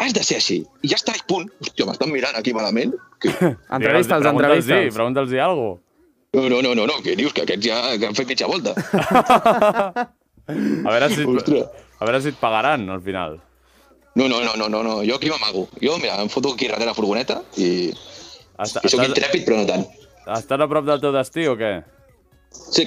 [SPEAKER 5] has de ser així. I ja està, i punt. Hòstia, m'estan mirant aquí malament. Que...
[SPEAKER 4] Entrevista'ls,
[SPEAKER 3] Pregunta'ls-hi,
[SPEAKER 4] entrevista'ls.
[SPEAKER 3] Pregunta'ls-hi alguna cosa.
[SPEAKER 5] No, no, no, no, no, que dius que aquests ja que han fet mitja volta.
[SPEAKER 3] A veure si,
[SPEAKER 5] Ostres.
[SPEAKER 3] a veure si et pagaran al final.
[SPEAKER 5] No, no, no, no, no, no. jo aquí m'amago. Jo, mira, em foto aquí darrere la furgoneta i,
[SPEAKER 3] Està,
[SPEAKER 5] i sóc
[SPEAKER 3] estàs,
[SPEAKER 5] intrèpid, però no tant.
[SPEAKER 3] estàs a prop del teu destí o què?
[SPEAKER 5] Sí.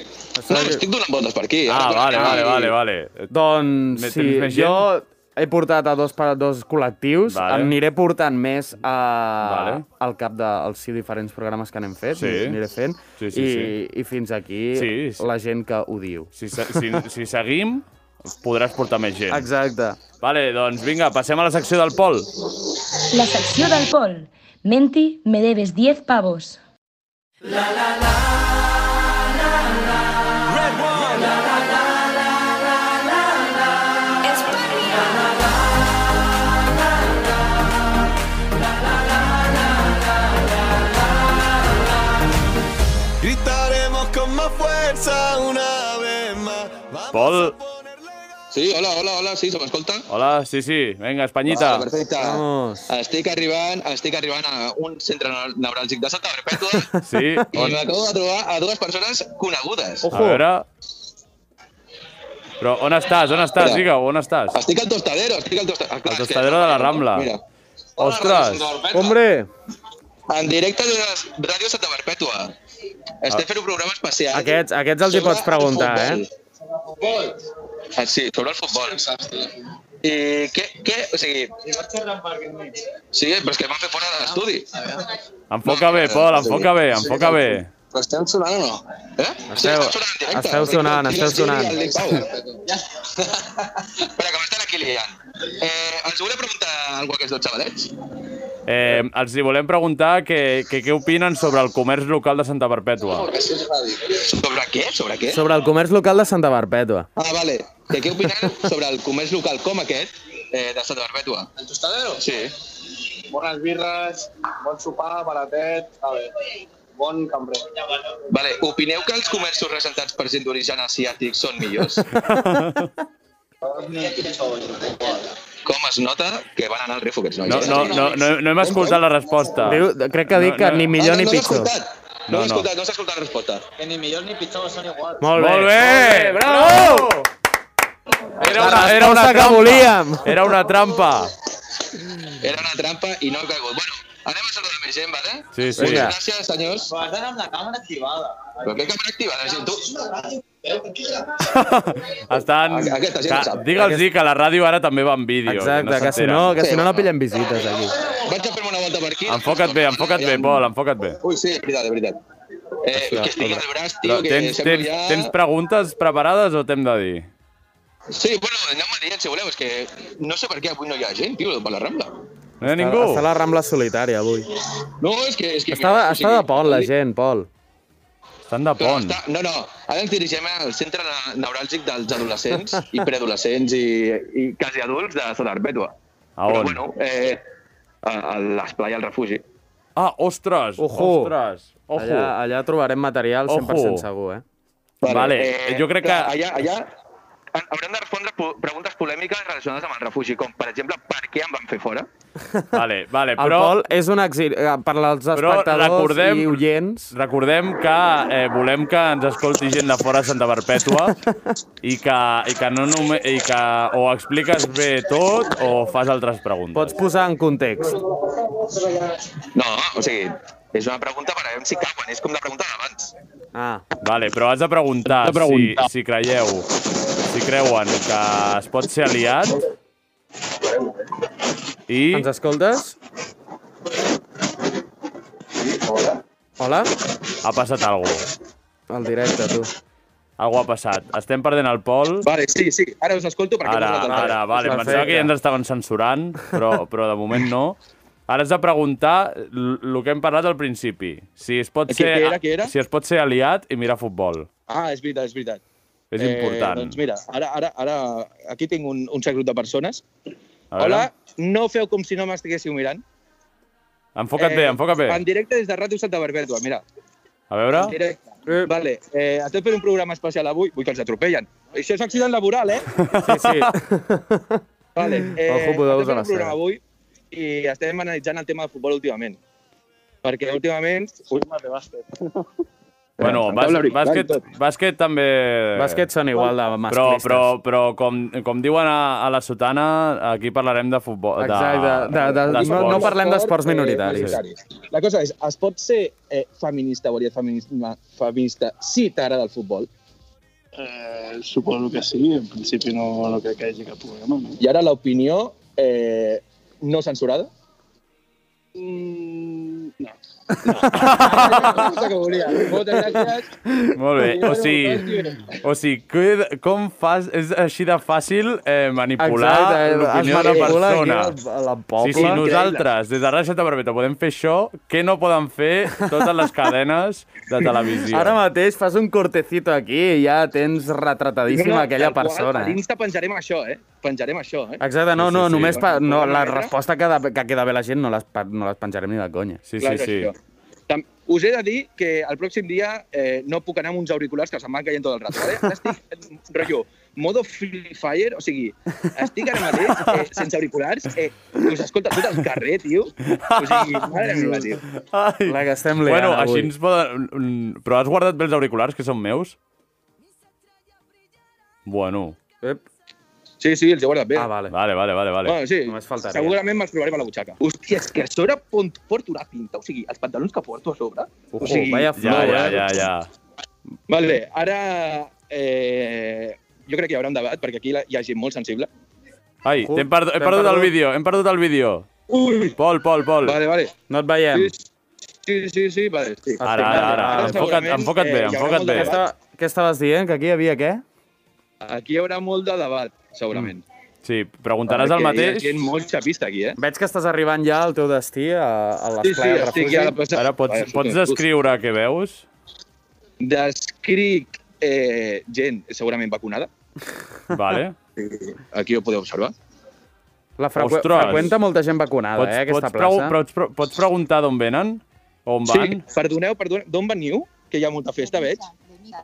[SPEAKER 5] No, no, ¿eh? estic donant voltes per aquí.
[SPEAKER 3] Ah,
[SPEAKER 5] Ara,
[SPEAKER 3] vale,
[SPEAKER 5] ara,
[SPEAKER 3] vale,
[SPEAKER 5] i-
[SPEAKER 3] vale, vale.
[SPEAKER 4] Doncs
[SPEAKER 3] Me-
[SPEAKER 4] sí,
[SPEAKER 3] tens més gent?
[SPEAKER 4] jo he portat a dos, per- dos col·lectius,
[SPEAKER 3] Vale.
[SPEAKER 4] vale. em aniré portant més a,
[SPEAKER 3] Vale.
[SPEAKER 4] vale. al cap dels de, sí, diferents programes que n'hem fet,
[SPEAKER 3] Sí.
[SPEAKER 4] aniré fent,
[SPEAKER 3] Sí, sí,
[SPEAKER 4] i,
[SPEAKER 3] sí.
[SPEAKER 4] i fins aquí
[SPEAKER 3] Sí, sí.
[SPEAKER 4] la gent que ho diu.
[SPEAKER 3] Si, se- si, si seguim, podràs portar més gent.
[SPEAKER 4] Exacte.
[SPEAKER 3] Vale, doncs vinga, passem a la secció del Pol.
[SPEAKER 9] La secció del Pol. Menti, me debes 10 pavos.
[SPEAKER 8] Gritaremos con más fuerza una vez más. Vamos
[SPEAKER 3] Pol,
[SPEAKER 5] Sí, hola, hola, hola, sí, se m'escolta?
[SPEAKER 3] hola, sí, sí, vinga, Espanyita.
[SPEAKER 5] Ah, perfecte.
[SPEAKER 4] Vamos.
[SPEAKER 5] Estic arribant, estic arribant a un centre neu- neuràlgic de Santa Perpètua
[SPEAKER 3] Sí,
[SPEAKER 5] i
[SPEAKER 3] on,
[SPEAKER 5] m'acabo de trobar a dues persones conegudes.
[SPEAKER 3] a veure... Però on estàs, on estàs,
[SPEAKER 5] Espera.
[SPEAKER 3] digue on estàs?
[SPEAKER 5] Estic al tostadero, estic al tostadero.
[SPEAKER 3] Al Tostadero de la Rambla. Ostres.
[SPEAKER 5] Hombre.
[SPEAKER 4] Hombre,
[SPEAKER 5] En directe de Ràdio Santa Perpètua. Estem fent un programa especial.
[SPEAKER 4] Ah. aquests, aquests els hi
[SPEAKER 5] sobre
[SPEAKER 4] pots
[SPEAKER 5] el
[SPEAKER 4] preguntar,
[SPEAKER 5] futbol.
[SPEAKER 4] eh?
[SPEAKER 5] Ah, Sí, sobre el futbol. I què, què, o sigui... Sí, però és que em van fer fora de l'estudi.
[SPEAKER 3] Enfoca bé,
[SPEAKER 5] Eh,
[SPEAKER 3] Pol, enfoca bé, enfoca bé.
[SPEAKER 5] Però estem sonant o no? Eh?
[SPEAKER 4] Esteu- esteu sonant, esteu sonant.
[SPEAKER 5] Espera, que m'estan aquí liant. Eh, els volia preguntar alguna cosa a aquests dos xavalets?
[SPEAKER 3] Eh, els hi volem preguntar que, que què opinen sobre el comerç local de Santa Perpètua.
[SPEAKER 5] Sobre què? Sobre què?
[SPEAKER 4] Eh? Sobre el comerç local de Santa Barpètua.
[SPEAKER 5] Ah, vale. Que què opinen sobre el comerç local com aquest eh, de Santa Perpètua? El tostadero? Sí.
[SPEAKER 6] Bones birres, bon sopar, baratet, a veure, bon cambrer.
[SPEAKER 5] Vale, opineu que els comerços representats per gent d'origen asiàtic són millors? Com es nota que van anar al refo aquests nois? eh?
[SPEAKER 3] No, no, no, no, no hem escoltat la resposta.
[SPEAKER 4] Diu, crec que ha dit
[SPEAKER 3] Ah. No,
[SPEAKER 4] que
[SPEAKER 3] no.
[SPEAKER 4] ni
[SPEAKER 5] Ah,
[SPEAKER 4] millor ni pitjor.
[SPEAKER 5] No,
[SPEAKER 3] No,
[SPEAKER 5] no,
[SPEAKER 3] no.
[SPEAKER 5] no, no s'ha escoltat la resposta.
[SPEAKER 4] Molt bé.
[SPEAKER 3] Molt bé! Bravo! Era una, era una
[SPEAKER 4] resposta que
[SPEAKER 3] trampa.
[SPEAKER 4] volíem.
[SPEAKER 3] Era una trampa.
[SPEAKER 5] Era una trampa i no ha caigut. Bueno, anem a saludar més gent, vale?
[SPEAKER 3] Sí, sí.
[SPEAKER 4] Vinga.
[SPEAKER 5] Gràcies, senyors. Però has d'anar amb la càmera activada. Però què càmera activada, gent? Tu?
[SPEAKER 3] Estan...
[SPEAKER 5] Aquesta gent ho
[SPEAKER 3] Que-
[SPEAKER 5] sap.
[SPEAKER 3] Digue'ls que la ràdio ara també va en vídeo.
[SPEAKER 4] Exacte, que si
[SPEAKER 3] s'enteren.
[SPEAKER 4] no, que
[SPEAKER 5] Sí.
[SPEAKER 4] si no, no pillen visites aquí.
[SPEAKER 5] Vaig a fer una volta per aquí.
[SPEAKER 3] Enfoca't bé, enfoca't bé, Pol, enfoca't bé.
[SPEAKER 5] Ui, sí, és veritat, és veritat. Eh, que estic al braç, tio, que
[SPEAKER 3] tens,
[SPEAKER 5] sembla
[SPEAKER 3] tens,
[SPEAKER 5] ja...
[SPEAKER 3] tens preguntes preparades o t'hem de dir?
[SPEAKER 5] Sí, bueno, aneu-me dient, si voleu, és que no sé per què avui no hi ha gent, tio, per la Rambla.
[SPEAKER 3] No hi ha ningú?
[SPEAKER 4] Està a la Rambla solitària, avui.
[SPEAKER 5] No, és que... És que
[SPEAKER 4] Està, de- està de pont, la gent, Pol.
[SPEAKER 3] Estan de pont.
[SPEAKER 5] Està, no, no, ara ens dirigim al centre na- neuràlgic dels adolescents i preadolescents i, i quasi adults de Sota Perpètua.
[SPEAKER 3] A
[SPEAKER 5] Però,
[SPEAKER 3] on?
[SPEAKER 5] bueno, eh, a, a l'esplai al refugi.
[SPEAKER 3] Ah, ostres,
[SPEAKER 4] Ojo.
[SPEAKER 3] ostres. Ojo.
[SPEAKER 4] Allà, allà trobarem material
[SPEAKER 3] Ojo.
[SPEAKER 4] 100% segur, eh?
[SPEAKER 3] Vale, eh, jo crec
[SPEAKER 5] eh, clar,
[SPEAKER 3] que-
[SPEAKER 5] Allà, allà ha- hauran de respondre po- preguntes polèmiques relacionades amb el refugi, com, per exemple, per què em van fer fora?
[SPEAKER 3] Vale, vale,
[SPEAKER 4] El
[SPEAKER 3] Eh, però...
[SPEAKER 4] Pol és un exil... eh, Per als
[SPEAKER 3] Però
[SPEAKER 4] espectadors
[SPEAKER 3] recordem-
[SPEAKER 4] i oients...
[SPEAKER 3] Recordem que eh, volem que ens escolti gent de fora de Santa Perpètua i que, i que, no només, i que o expliques bé tot o fas altres preguntes.
[SPEAKER 4] Pots posar en context.
[SPEAKER 5] No, o sigui, és una pregunta per a veure si cauen, és com la pregunta d'abans.
[SPEAKER 4] Ah,
[SPEAKER 3] Vale, però has de preguntar,
[SPEAKER 7] Has de preguntar.
[SPEAKER 3] Si, si creieu, si creuen que es pot ser aliat i...
[SPEAKER 4] ens escoltes? Hola?
[SPEAKER 3] Ha passat alguna cosa.
[SPEAKER 4] El directe, tu.
[SPEAKER 3] Algú ha passat. Estem perdent el Pol.
[SPEAKER 5] Vale, sí, sí, ara us escolto perquè...
[SPEAKER 3] Ara,
[SPEAKER 5] vosaltres-
[SPEAKER 3] ara, vale.
[SPEAKER 4] Perfecte.
[SPEAKER 3] Pensava que ja ens estaven censurant, però, però de moment no. Ara has de preguntar el que hem parlat al principi. Si es pot
[SPEAKER 5] Què-
[SPEAKER 3] ser,
[SPEAKER 5] què Eh, era, què era?
[SPEAKER 3] Si es pot ser aliat i mirar futbol.
[SPEAKER 5] Ah, és veritat, és veritat.
[SPEAKER 3] És important.
[SPEAKER 5] Doncs mira, ara, ara, ara aquí tinc un, un cert grup de persones.
[SPEAKER 3] A veure.
[SPEAKER 5] Hola, no feu com si no m'estiguéssiu mirant. Eh,
[SPEAKER 3] Enfoca't bé, enfoca't bé.
[SPEAKER 5] En directe des de Ràdio Santa Barbètua, mira.
[SPEAKER 3] A veure.
[SPEAKER 5] En directe. Vale, eh, estem fent un programa especial avui. Vull que els atropellen. Això és accident laboral, eh?
[SPEAKER 4] Sí, sí.
[SPEAKER 5] Vale, eh,
[SPEAKER 4] Ojo, podeu usar la
[SPEAKER 5] estem fent un programa
[SPEAKER 4] seva.
[SPEAKER 5] avui i estem analitzant el tema del futbol últimament. Perquè últimament... Ui, mare, bàsquet.
[SPEAKER 3] Bueno,
[SPEAKER 5] em
[SPEAKER 3] bàs,
[SPEAKER 5] taula horitzontal i
[SPEAKER 3] bàsquet,
[SPEAKER 5] tot.
[SPEAKER 3] bàsquet també...
[SPEAKER 4] Bàsquet són igual de
[SPEAKER 3] Però,
[SPEAKER 4] masclistes.
[SPEAKER 3] però, però com, com diuen a, a la sotana, aquí parlarem de futbol. De,
[SPEAKER 4] Exacte. De, de, de, no, no
[SPEAKER 3] d'esports.
[SPEAKER 4] parlem d'esports
[SPEAKER 5] eh,
[SPEAKER 4] minoritaris.
[SPEAKER 5] minoritaris. La cosa és, es pot ser eh, feminista o aliat feminista, feminista si t'agrada el futbol?
[SPEAKER 6] Eh, suposo que sí, en principi no, no crec que hi hagi cap problema. No?
[SPEAKER 5] I ara l'opinió eh, no censurada?
[SPEAKER 6] Mm, no.
[SPEAKER 5] Cosa que volia. Moltes gràcies.
[SPEAKER 3] Molt bé. O sigui, o sigui que, com fas... És així de fàcil eh, manipular l'opinió de la
[SPEAKER 4] manipula aquí
[SPEAKER 3] persona.
[SPEAKER 4] el- el
[SPEAKER 3] Sí,
[SPEAKER 4] poble.
[SPEAKER 3] sí, nosaltres, des de Ràdio Santa Barbeta, podem fer això que no poden fer totes les cadenes de televisió.
[SPEAKER 4] Ara mateix fas un cortecito aquí i ja tens retratadíssima aquella
[SPEAKER 5] tal qual,
[SPEAKER 4] persona.
[SPEAKER 5] eh,
[SPEAKER 4] eh.
[SPEAKER 5] A dins te penjarem això, eh? Penjarem això, eh?
[SPEAKER 4] Exacte, no,
[SPEAKER 3] Sí, sí,
[SPEAKER 4] no,
[SPEAKER 3] sí.
[SPEAKER 4] només pa, no, la
[SPEAKER 5] Bueno,
[SPEAKER 4] resposta que, de, que queda bé la gent no les, pa- no les penjarem ni de conya.
[SPEAKER 3] Sí,
[SPEAKER 5] Clar
[SPEAKER 3] sí,
[SPEAKER 5] que
[SPEAKER 3] sí.
[SPEAKER 5] això. Tam- Us he de dir que el pròxim dia eh, no puc anar amb uns auriculars que se'm van caient tot el rato. Vale? Ara estic, en rotllo, modo Free Fire, o sigui, estic ara mateix eh, sense auriculars, eh, us escolta tot el carrer, tio. O sigui, madre meva, tio.
[SPEAKER 3] Ai.
[SPEAKER 4] La que estem liant
[SPEAKER 3] Bueno,
[SPEAKER 4] avui.
[SPEAKER 3] així ens poden... mm, Però has guardat bé els auriculars, que són meus? Bueno,
[SPEAKER 4] Ep.
[SPEAKER 5] Sí, sí, els he guardat bé.
[SPEAKER 4] Ah, vale.
[SPEAKER 3] vale, vale, vale. vale.
[SPEAKER 5] Bueno, sí,
[SPEAKER 4] Només faltaria.
[SPEAKER 5] segurament me'ls trobarem a la butxaca. Hòstia, és que a sobre pont- porto una pinta, o sigui, els pantalons que porto a sobre...
[SPEAKER 4] Ojo,
[SPEAKER 5] o sigui,
[SPEAKER 4] vaya
[SPEAKER 3] Ja,
[SPEAKER 4] flow,
[SPEAKER 3] ja,
[SPEAKER 4] eh?
[SPEAKER 3] ja, ja.
[SPEAKER 5] Vale, ara... Eh, jo crec que hi haurà un debat, perquè aquí la- hi ha gent molt sensible.
[SPEAKER 3] Ai,
[SPEAKER 4] Ojo,
[SPEAKER 3] hem, perd hem
[SPEAKER 4] t'hem
[SPEAKER 3] perdut el
[SPEAKER 4] perdut.
[SPEAKER 3] vídeo, hem perdut el vídeo.
[SPEAKER 5] Ui!
[SPEAKER 3] Pol, Pol, Pol.
[SPEAKER 5] Vale, vale.
[SPEAKER 4] No et veiem.
[SPEAKER 5] Sí, sí, sí, sí, vale, sí.
[SPEAKER 4] Ah,
[SPEAKER 3] Ara, ara, ara.
[SPEAKER 4] Ara
[SPEAKER 3] Enfoca't,
[SPEAKER 5] segurament,
[SPEAKER 3] enfoca't
[SPEAKER 5] eh,
[SPEAKER 3] bé,
[SPEAKER 5] hi haurà
[SPEAKER 3] enfoca't
[SPEAKER 5] molt
[SPEAKER 3] bé.
[SPEAKER 5] de
[SPEAKER 4] Què, estava, què estaves dient? Que aquí hi havia què?
[SPEAKER 5] Aquí hi haurà molt de debat, segurament.
[SPEAKER 3] Sí, preguntaràs Mm. el
[SPEAKER 5] Perquè
[SPEAKER 3] mateix.
[SPEAKER 5] Hi ha gent molt xapista, aquí, eh?
[SPEAKER 4] Veig que estàs arribant ja al teu destí, a, a
[SPEAKER 5] Sí, sí,
[SPEAKER 4] l'esplai del
[SPEAKER 5] estic
[SPEAKER 4] refugi.
[SPEAKER 5] ja a la plaça.
[SPEAKER 3] Ara pots,
[SPEAKER 5] Vaja,
[SPEAKER 3] pots
[SPEAKER 5] super.
[SPEAKER 3] descriure què veus?
[SPEAKER 5] Descric eh, gent segurament vacunada.
[SPEAKER 3] Vale.
[SPEAKER 5] Aquí ho podeu observar.
[SPEAKER 4] La frequ
[SPEAKER 3] Ostres.
[SPEAKER 4] freqüenta molta gent vacunada,
[SPEAKER 3] Pots,
[SPEAKER 4] eh, aquesta
[SPEAKER 3] pots, pregu-
[SPEAKER 4] plaça.
[SPEAKER 3] pots, pre- pots preguntar d'on venen? O on
[SPEAKER 5] Sí,
[SPEAKER 3] van?
[SPEAKER 5] perdoneu, perdoneu. D'on veniu? Que hi ha molta festa, veig.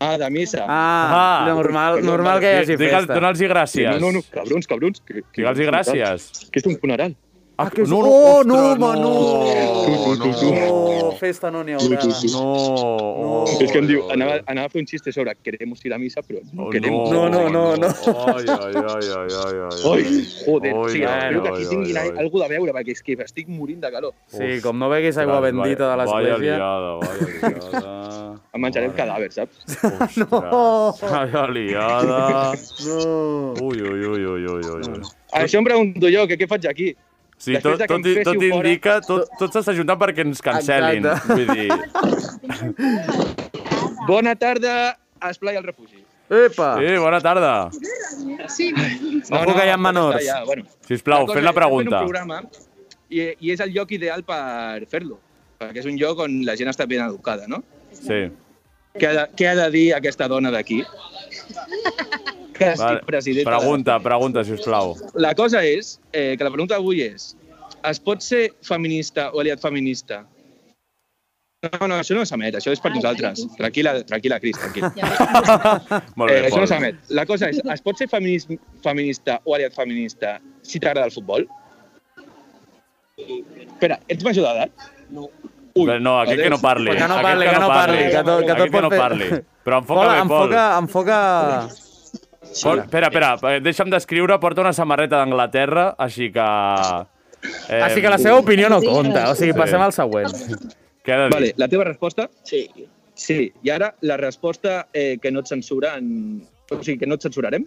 [SPEAKER 5] Ah, de missa.
[SPEAKER 4] Ah,
[SPEAKER 3] Ah.
[SPEAKER 4] normal, normal que hi hagi
[SPEAKER 3] Digue'ls-
[SPEAKER 4] festa.
[SPEAKER 3] Dona'ls-hi
[SPEAKER 5] Sí,
[SPEAKER 3] gràcies.
[SPEAKER 5] no, no, no, cabrons, cabrons. Que, que,
[SPEAKER 3] Digue'ls-hi gràcies.
[SPEAKER 5] Que és un funeral.
[SPEAKER 4] Ah, que és...
[SPEAKER 3] No,
[SPEAKER 4] No,
[SPEAKER 3] no,
[SPEAKER 4] no, oh, no, home, no!
[SPEAKER 3] no,
[SPEAKER 4] No, no, festa no n'hi haurà.
[SPEAKER 3] No.
[SPEAKER 4] No.
[SPEAKER 3] Oh,
[SPEAKER 5] és que em diu,
[SPEAKER 3] oh,
[SPEAKER 5] anava, anava a fer un xiste sobre queremos ir a missa, però no
[SPEAKER 3] Oh,
[SPEAKER 5] queremos.
[SPEAKER 4] No, no, no, no.
[SPEAKER 3] Ai, ai, ai, ai, ai, ai.
[SPEAKER 5] Ai,
[SPEAKER 3] Oi,
[SPEAKER 5] joder, o sigui,
[SPEAKER 3] oi,
[SPEAKER 5] espero que
[SPEAKER 3] oi,
[SPEAKER 5] aquí
[SPEAKER 3] oi,
[SPEAKER 5] tinguin
[SPEAKER 3] oi.
[SPEAKER 5] alguna de veure, perquè és que estic morint de calor.
[SPEAKER 4] Sí, com no beguis aigua bendita
[SPEAKER 3] Vaya
[SPEAKER 4] de l'església...
[SPEAKER 3] liada, vaya liada.
[SPEAKER 5] Em menjarem cadàvers, saps?
[SPEAKER 3] No! Vaya liada.
[SPEAKER 4] No.
[SPEAKER 3] Ui, ui, ui, ui, ui, ui. ui.
[SPEAKER 5] Això em pregunto jo, que què faig aquí?
[SPEAKER 3] Sí, tot,
[SPEAKER 5] Després de que
[SPEAKER 3] tot,
[SPEAKER 5] em
[SPEAKER 3] tot
[SPEAKER 5] féssiu fora-
[SPEAKER 3] indica, tot, tot s'està ajuntant perquè ens cancel·lin.
[SPEAKER 5] Exacte.
[SPEAKER 3] Vull dir,
[SPEAKER 5] Bona tarda, Esplai al Refugi.
[SPEAKER 4] Epa!
[SPEAKER 3] Sí, bona tarda.
[SPEAKER 5] Sí.
[SPEAKER 3] Ojo que hi ha menors. Sisplau, fes la pregunta.
[SPEAKER 5] Programa, i, I és el lloc ideal per fer-lo, perquè és un lloc on la gent està ben educada, no?
[SPEAKER 3] Sí.
[SPEAKER 5] Què ha de, què ha de dir aquesta dona d'aquí? Que estic
[SPEAKER 3] Vale.
[SPEAKER 5] presidenta.
[SPEAKER 3] Pregunta, pregunta, sisplau.
[SPEAKER 5] La cosa és, eh, que la pregunta d'avui és, es pot ser feminista o aliat feminista? No, no, això no s'emet, això és per nosaltres. Tranquil·la, tranquil·la, Cris, tranquil·la.
[SPEAKER 3] Molt bé,
[SPEAKER 5] eh, això
[SPEAKER 3] Pol.
[SPEAKER 5] no s'emet. La cosa és, es pot ser feminis, feminista o aliat feminista si t'agrada el futbol? Espera, ets major d'edat? No.
[SPEAKER 3] Però no, aquest que no parli. eh.
[SPEAKER 4] Que no
[SPEAKER 3] Aquest
[SPEAKER 4] parli, que no parli, que tot- que tot
[SPEAKER 3] Aquest que no
[SPEAKER 4] pot fer-
[SPEAKER 3] parli. Però enfoca
[SPEAKER 4] Pol,
[SPEAKER 3] bé, Pol.
[SPEAKER 4] enfoca, enfoca...
[SPEAKER 3] Pol, espera, espera, eh, deixa'm descriure. Porta una samarreta d'Anglaterra, així que... Eh,
[SPEAKER 4] Així que la seva opinió no compta, o sigui, passem al següent.
[SPEAKER 3] Què ha de dir?
[SPEAKER 5] Vale, la teva resposta? Sí. Sí, i ara la resposta eh, que no et censuren... O sigui, que no et censurarem?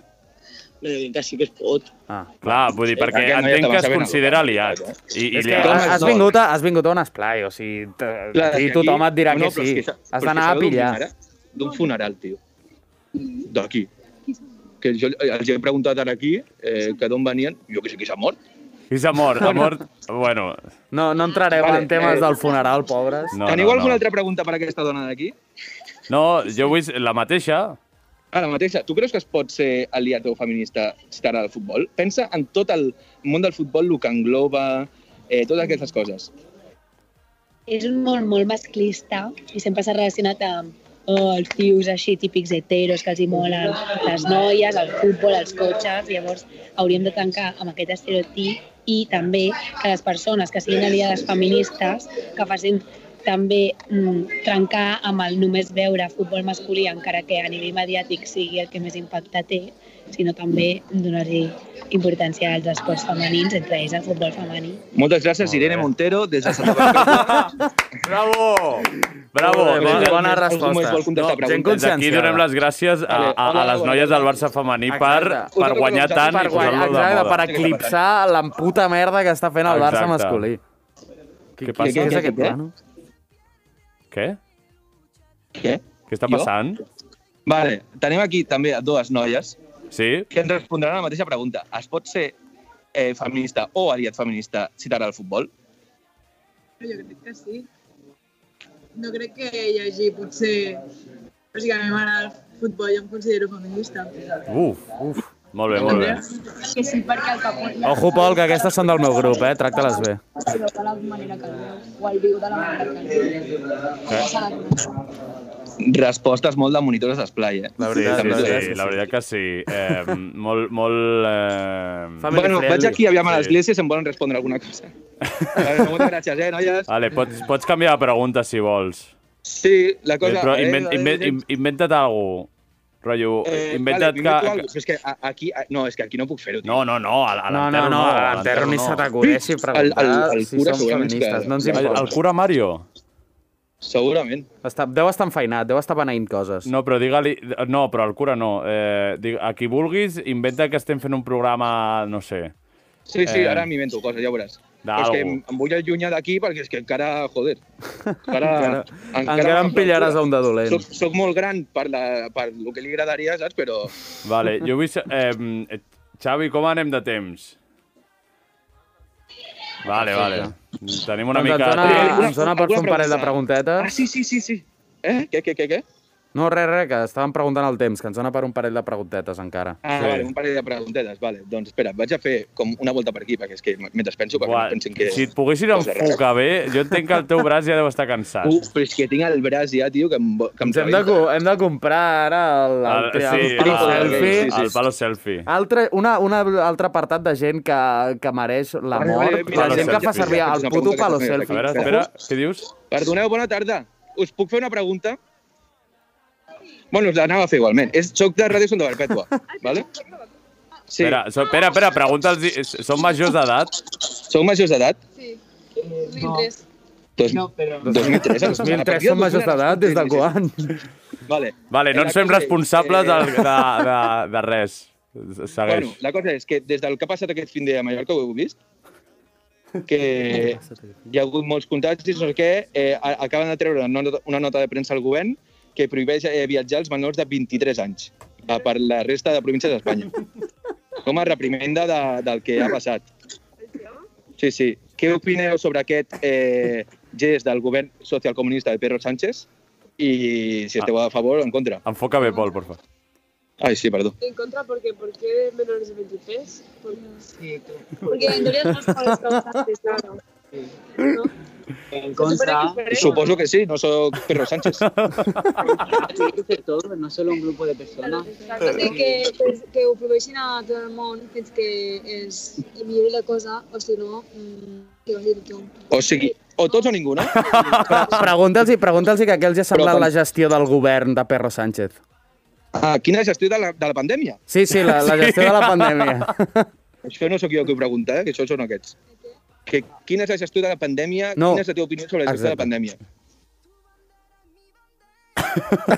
[SPEAKER 5] La veritat sí que es pot.
[SPEAKER 4] Ah.
[SPEAKER 3] Clar, vull dir, perquè
[SPEAKER 5] Aquest noi ja
[SPEAKER 3] entenc
[SPEAKER 5] te
[SPEAKER 3] que
[SPEAKER 5] la
[SPEAKER 3] es
[SPEAKER 5] saben
[SPEAKER 3] considera aliat. I, i
[SPEAKER 4] És que
[SPEAKER 3] li
[SPEAKER 4] has, has,
[SPEAKER 3] has...
[SPEAKER 4] vingut a, has vingut a un esplai, o sigui, t-
[SPEAKER 5] Clar,
[SPEAKER 4] aquí
[SPEAKER 5] és que
[SPEAKER 4] tothom et dirà
[SPEAKER 5] no,
[SPEAKER 4] que
[SPEAKER 5] però és
[SPEAKER 4] sí.
[SPEAKER 5] s'ha- però és
[SPEAKER 4] Has
[SPEAKER 5] que
[SPEAKER 4] d'anar
[SPEAKER 5] s'ha
[SPEAKER 4] a
[SPEAKER 5] d'un
[SPEAKER 4] pillar.
[SPEAKER 5] funeral- D'un funeral, tio. D'aquí. Que jo els he preguntat ara aquí eh, que d'on venien. Jo que sé qui s'ha mort.
[SPEAKER 3] Qui s'ha mort? Ha mort? Bueno,
[SPEAKER 4] No, no entrarem
[SPEAKER 5] Vale,
[SPEAKER 4] en temes
[SPEAKER 5] eh,
[SPEAKER 4] del funeral, pobres.
[SPEAKER 3] no,
[SPEAKER 5] Teniu
[SPEAKER 3] no,
[SPEAKER 5] alguna
[SPEAKER 3] no.
[SPEAKER 5] altra pregunta per a aquesta dona d'aquí?
[SPEAKER 3] No, jo vull la mateixa.
[SPEAKER 5] Ara mateixa, tu creus que es pot ser aliat o feminista si t'agrada el futbol? Pensa en tot el món del futbol, el que engloba, eh, totes aquestes coses.
[SPEAKER 10] És un món molt masclista i sempre s'ha relacionat amb oh, els tios així típics heteros que els hi molen les noies, el futbol, els cotxes. Llavors hauríem de tancar amb aquest estereotip i també que les persones que siguin aliades feministes que facin també mm, trencar amb el només veure futbol masculí, encara que a nivell mediàtic sigui el que més impacte té, sinó també donar-hi importància als esports femenins, entre ells el futbol femení.
[SPEAKER 5] Moltes gràcies, Irene Montero, des de Santa Bàrbara.
[SPEAKER 3] Bravo! Bravo!
[SPEAKER 5] Molt bé,
[SPEAKER 3] Des de-
[SPEAKER 5] bona resposta. Només vol contestar preguntes.
[SPEAKER 3] gent conscienciada. Des d'aquí donem les gràcies a, a, a les noies del Barça femení per,
[SPEAKER 4] Exacte.
[SPEAKER 3] per guanyar tant
[SPEAKER 4] per
[SPEAKER 3] i posar-lo de
[SPEAKER 4] exacte,
[SPEAKER 3] moda.
[SPEAKER 4] per eclipsar la puta merda que està fent el Barça
[SPEAKER 3] Exacte.
[SPEAKER 4] masculí.
[SPEAKER 3] Què passa?
[SPEAKER 4] Què és aquest eh?
[SPEAKER 3] Què?
[SPEAKER 4] plano?
[SPEAKER 3] Què?
[SPEAKER 5] Què?
[SPEAKER 3] Què està
[SPEAKER 5] Jo?
[SPEAKER 3] passant?
[SPEAKER 5] Eh? Vale, tenim aquí també a dues noies
[SPEAKER 3] sí?
[SPEAKER 5] que ens respondran a la mateixa pregunta. Es pot ser eh, feminista o aliat feminista si t'agrada el futbol?
[SPEAKER 11] Jo crec que sí. No crec que hi hagi, potser... O sigui, a mi m'agrada el futbol, jo em considero feminista.
[SPEAKER 3] Uf, uf. Molt bé, molt bé.
[SPEAKER 11] Que sí, perquè el caput...
[SPEAKER 4] Ojo, Pol, que aquestes són del meu grup, eh? Tracta-les bé.
[SPEAKER 11] Però de la manera que el veus, o el viu de la manera que el veus.
[SPEAKER 5] Respostes molt de monitores d'esplai, eh?
[SPEAKER 3] Sí, sí, sí, la veritat que sí. Eh, molt, molt... Eh...
[SPEAKER 5] Bueno, vaig aquí aviam a l'església si em volen respondre alguna cosa. Vale, moltes gràcies, eh, noies?
[SPEAKER 3] Vale, pots, pots canviar de pregunta si vols.
[SPEAKER 5] Sí, la cosa...
[SPEAKER 3] Però
[SPEAKER 5] eh,
[SPEAKER 3] invent,
[SPEAKER 5] eh,
[SPEAKER 3] invent,
[SPEAKER 5] eh,
[SPEAKER 3] in- inventa't alguna cosa. Rotllo, inventa't
[SPEAKER 5] eh, vale,
[SPEAKER 3] que...
[SPEAKER 5] m'invento alguna cosa, però És que a- aquí, a- no, és que aquí no puc fer-ho.
[SPEAKER 3] No, no, no, a, a l'enterro no. a l'enterro no.
[SPEAKER 5] El, el, el cura segurament que-
[SPEAKER 3] el, el cura Mario?
[SPEAKER 5] Segurament.
[SPEAKER 4] Està, deu estar enfeinat, deu estar beneint coses.
[SPEAKER 3] No, però digue-li... No, però el cura no. Eh, digue, a qui vulguis, inventa que estem fent un programa, no sé.
[SPEAKER 5] Sí, sí,
[SPEAKER 3] Eh,
[SPEAKER 5] ara m'invento coses, ja ho veuràs. Però és
[SPEAKER 3] D'algú.
[SPEAKER 5] que em, em vull allunyar d'aquí perquè és que encara, joder, encara...
[SPEAKER 4] Encara- encara em pillaràs a un de dolent.
[SPEAKER 5] Soc, soc molt gran per, la, per lo que li agradaria, saps? Però...
[SPEAKER 3] Vale, jo vull... sa- Eh, Xavi, com anem de temps? Vale, vale. Tenim una
[SPEAKER 4] Doncs
[SPEAKER 3] mica...
[SPEAKER 4] Ens
[SPEAKER 3] de temps.
[SPEAKER 4] dona, ens dona per fer un
[SPEAKER 5] alguna
[SPEAKER 4] parell de
[SPEAKER 5] pregunta?
[SPEAKER 4] preguntetes.
[SPEAKER 5] Ah, sí, sí, sí, sí. Eh? Què, què, què, què?
[SPEAKER 4] No, res, res, que estàvem preguntant el temps, que ens dona per un parell de preguntetes encara.
[SPEAKER 5] Ah, sí. vale, un parell de preguntetes, vale. Doncs espera, vaig a fer com una volta per aquí, perquè és que m- mentre penso, perquè
[SPEAKER 3] Buah,
[SPEAKER 5] no pensin que...
[SPEAKER 3] Si et poguessin enfocar bé, jo entenc que el teu braç ja deu estar cansat.
[SPEAKER 5] Uh, però és que tinc el braç ja, tio, que em... vo- Que em
[SPEAKER 4] Ens hem de, co- hem de comprar ara el, el,
[SPEAKER 3] El,
[SPEAKER 4] el,
[SPEAKER 3] sí,
[SPEAKER 4] el, palo selfie.
[SPEAKER 3] el, el palo selfie.
[SPEAKER 4] Altre, una, una altre apartat de gent que, que mereix la
[SPEAKER 5] Vale, vale,
[SPEAKER 4] mort,
[SPEAKER 5] mira,
[SPEAKER 4] la gent que
[SPEAKER 5] selfie.
[SPEAKER 4] fa servir
[SPEAKER 5] Una
[SPEAKER 4] el
[SPEAKER 5] pregunta
[SPEAKER 4] puto
[SPEAKER 5] que
[SPEAKER 4] palo
[SPEAKER 5] s'ha fet
[SPEAKER 4] selfie.
[SPEAKER 5] aquí. A veure, espera,
[SPEAKER 3] què dius?
[SPEAKER 5] Perdoneu, bona tarda. Us puc fer una pregunta? Bueno, us l'anava a fer igualment. És xoc de Ràdio Santa Perpètua, vale? Sí.
[SPEAKER 3] Espera, so, espera, espera pregunta'ls... si- Són majors d'edat?
[SPEAKER 5] Sou majors d'edat?
[SPEAKER 11] No.
[SPEAKER 5] Dos,
[SPEAKER 11] No, però...
[SPEAKER 5] 2003. a partir de
[SPEAKER 4] 2003 són majors d'edat, des de quan?
[SPEAKER 5] Vale.
[SPEAKER 3] Vale, no
[SPEAKER 5] Eh,
[SPEAKER 3] ens
[SPEAKER 5] la
[SPEAKER 3] fem
[SPEAKER 5] cosa és,
[SPEAKER 3] responsables
[SPEAKER 5] eh,
[SPEAKER 3] de, de, de, de res. Segueix.
[SPEAKER 5] Bueno, la cosa és que des del que ha passat aquest fin de a Mallorca ho heu vist? que hi ha hagut molts contagis, no sé què, eh, a- acaben de treure una nota, una nota de premsa al govern que prohibeix eh, viatjar als menors de 23 anys eh, per la resta de províncies d'Espanya. Com a reprimenda de, del que ha passat. Sí, sí. Què opineu sobre aquest eh, gest del govern socialcomunista de Pedro Sánchez? I si esteu a favor o en contra.
[SPEAKER 3] Enfoca bé, Pol, por favor.
[SPEAKER 5] Ai, sí, perdó.
[SPEAKER 10] En contra, ¿por qué? ¿Por qué menores de 23? Por- Porque en teoría es más para descansar, claro. ¿No?
[SPEAKER 12] En
[SPEAKER 10] contra.
[SPEAKER 12] contra,
[SPEAKER 5] Suposo que sí, no sóc Pedro Sánchez.
[SPEAKER 12] tiene que ser todo, no solo un grupo de personas.
[SPEAKER 10] Exacte, sí, que, pues, que ho proveixin a tot el món fins que es millori la cosa, o si no, mm, que vagi tothom.
[SPEAKER 5] O sigui, o tots o ningú, no?
[SPEAKER 4] Pregunta'ls pregunta que què els ha semblat la gestió del govern de Perro Sánchez.
[SPEAKER 5] Ah, quina gestió de la, de la pandèmia?
[SPEAKER 4] Sí, sí, la, la gestió de la pandèmia.
[SPEAKER 5] Això no sóc jo que ho pregunta, eh? que això són aquests. Que, quina és la gestió de la pandèmia?
[SPEAKER 4] No.
[SPEAKER 5] Quina és la teva opinió sobre la gestió de la
[SPEAKER 4] Exacte.
[SPEAKER 5] pandèmia?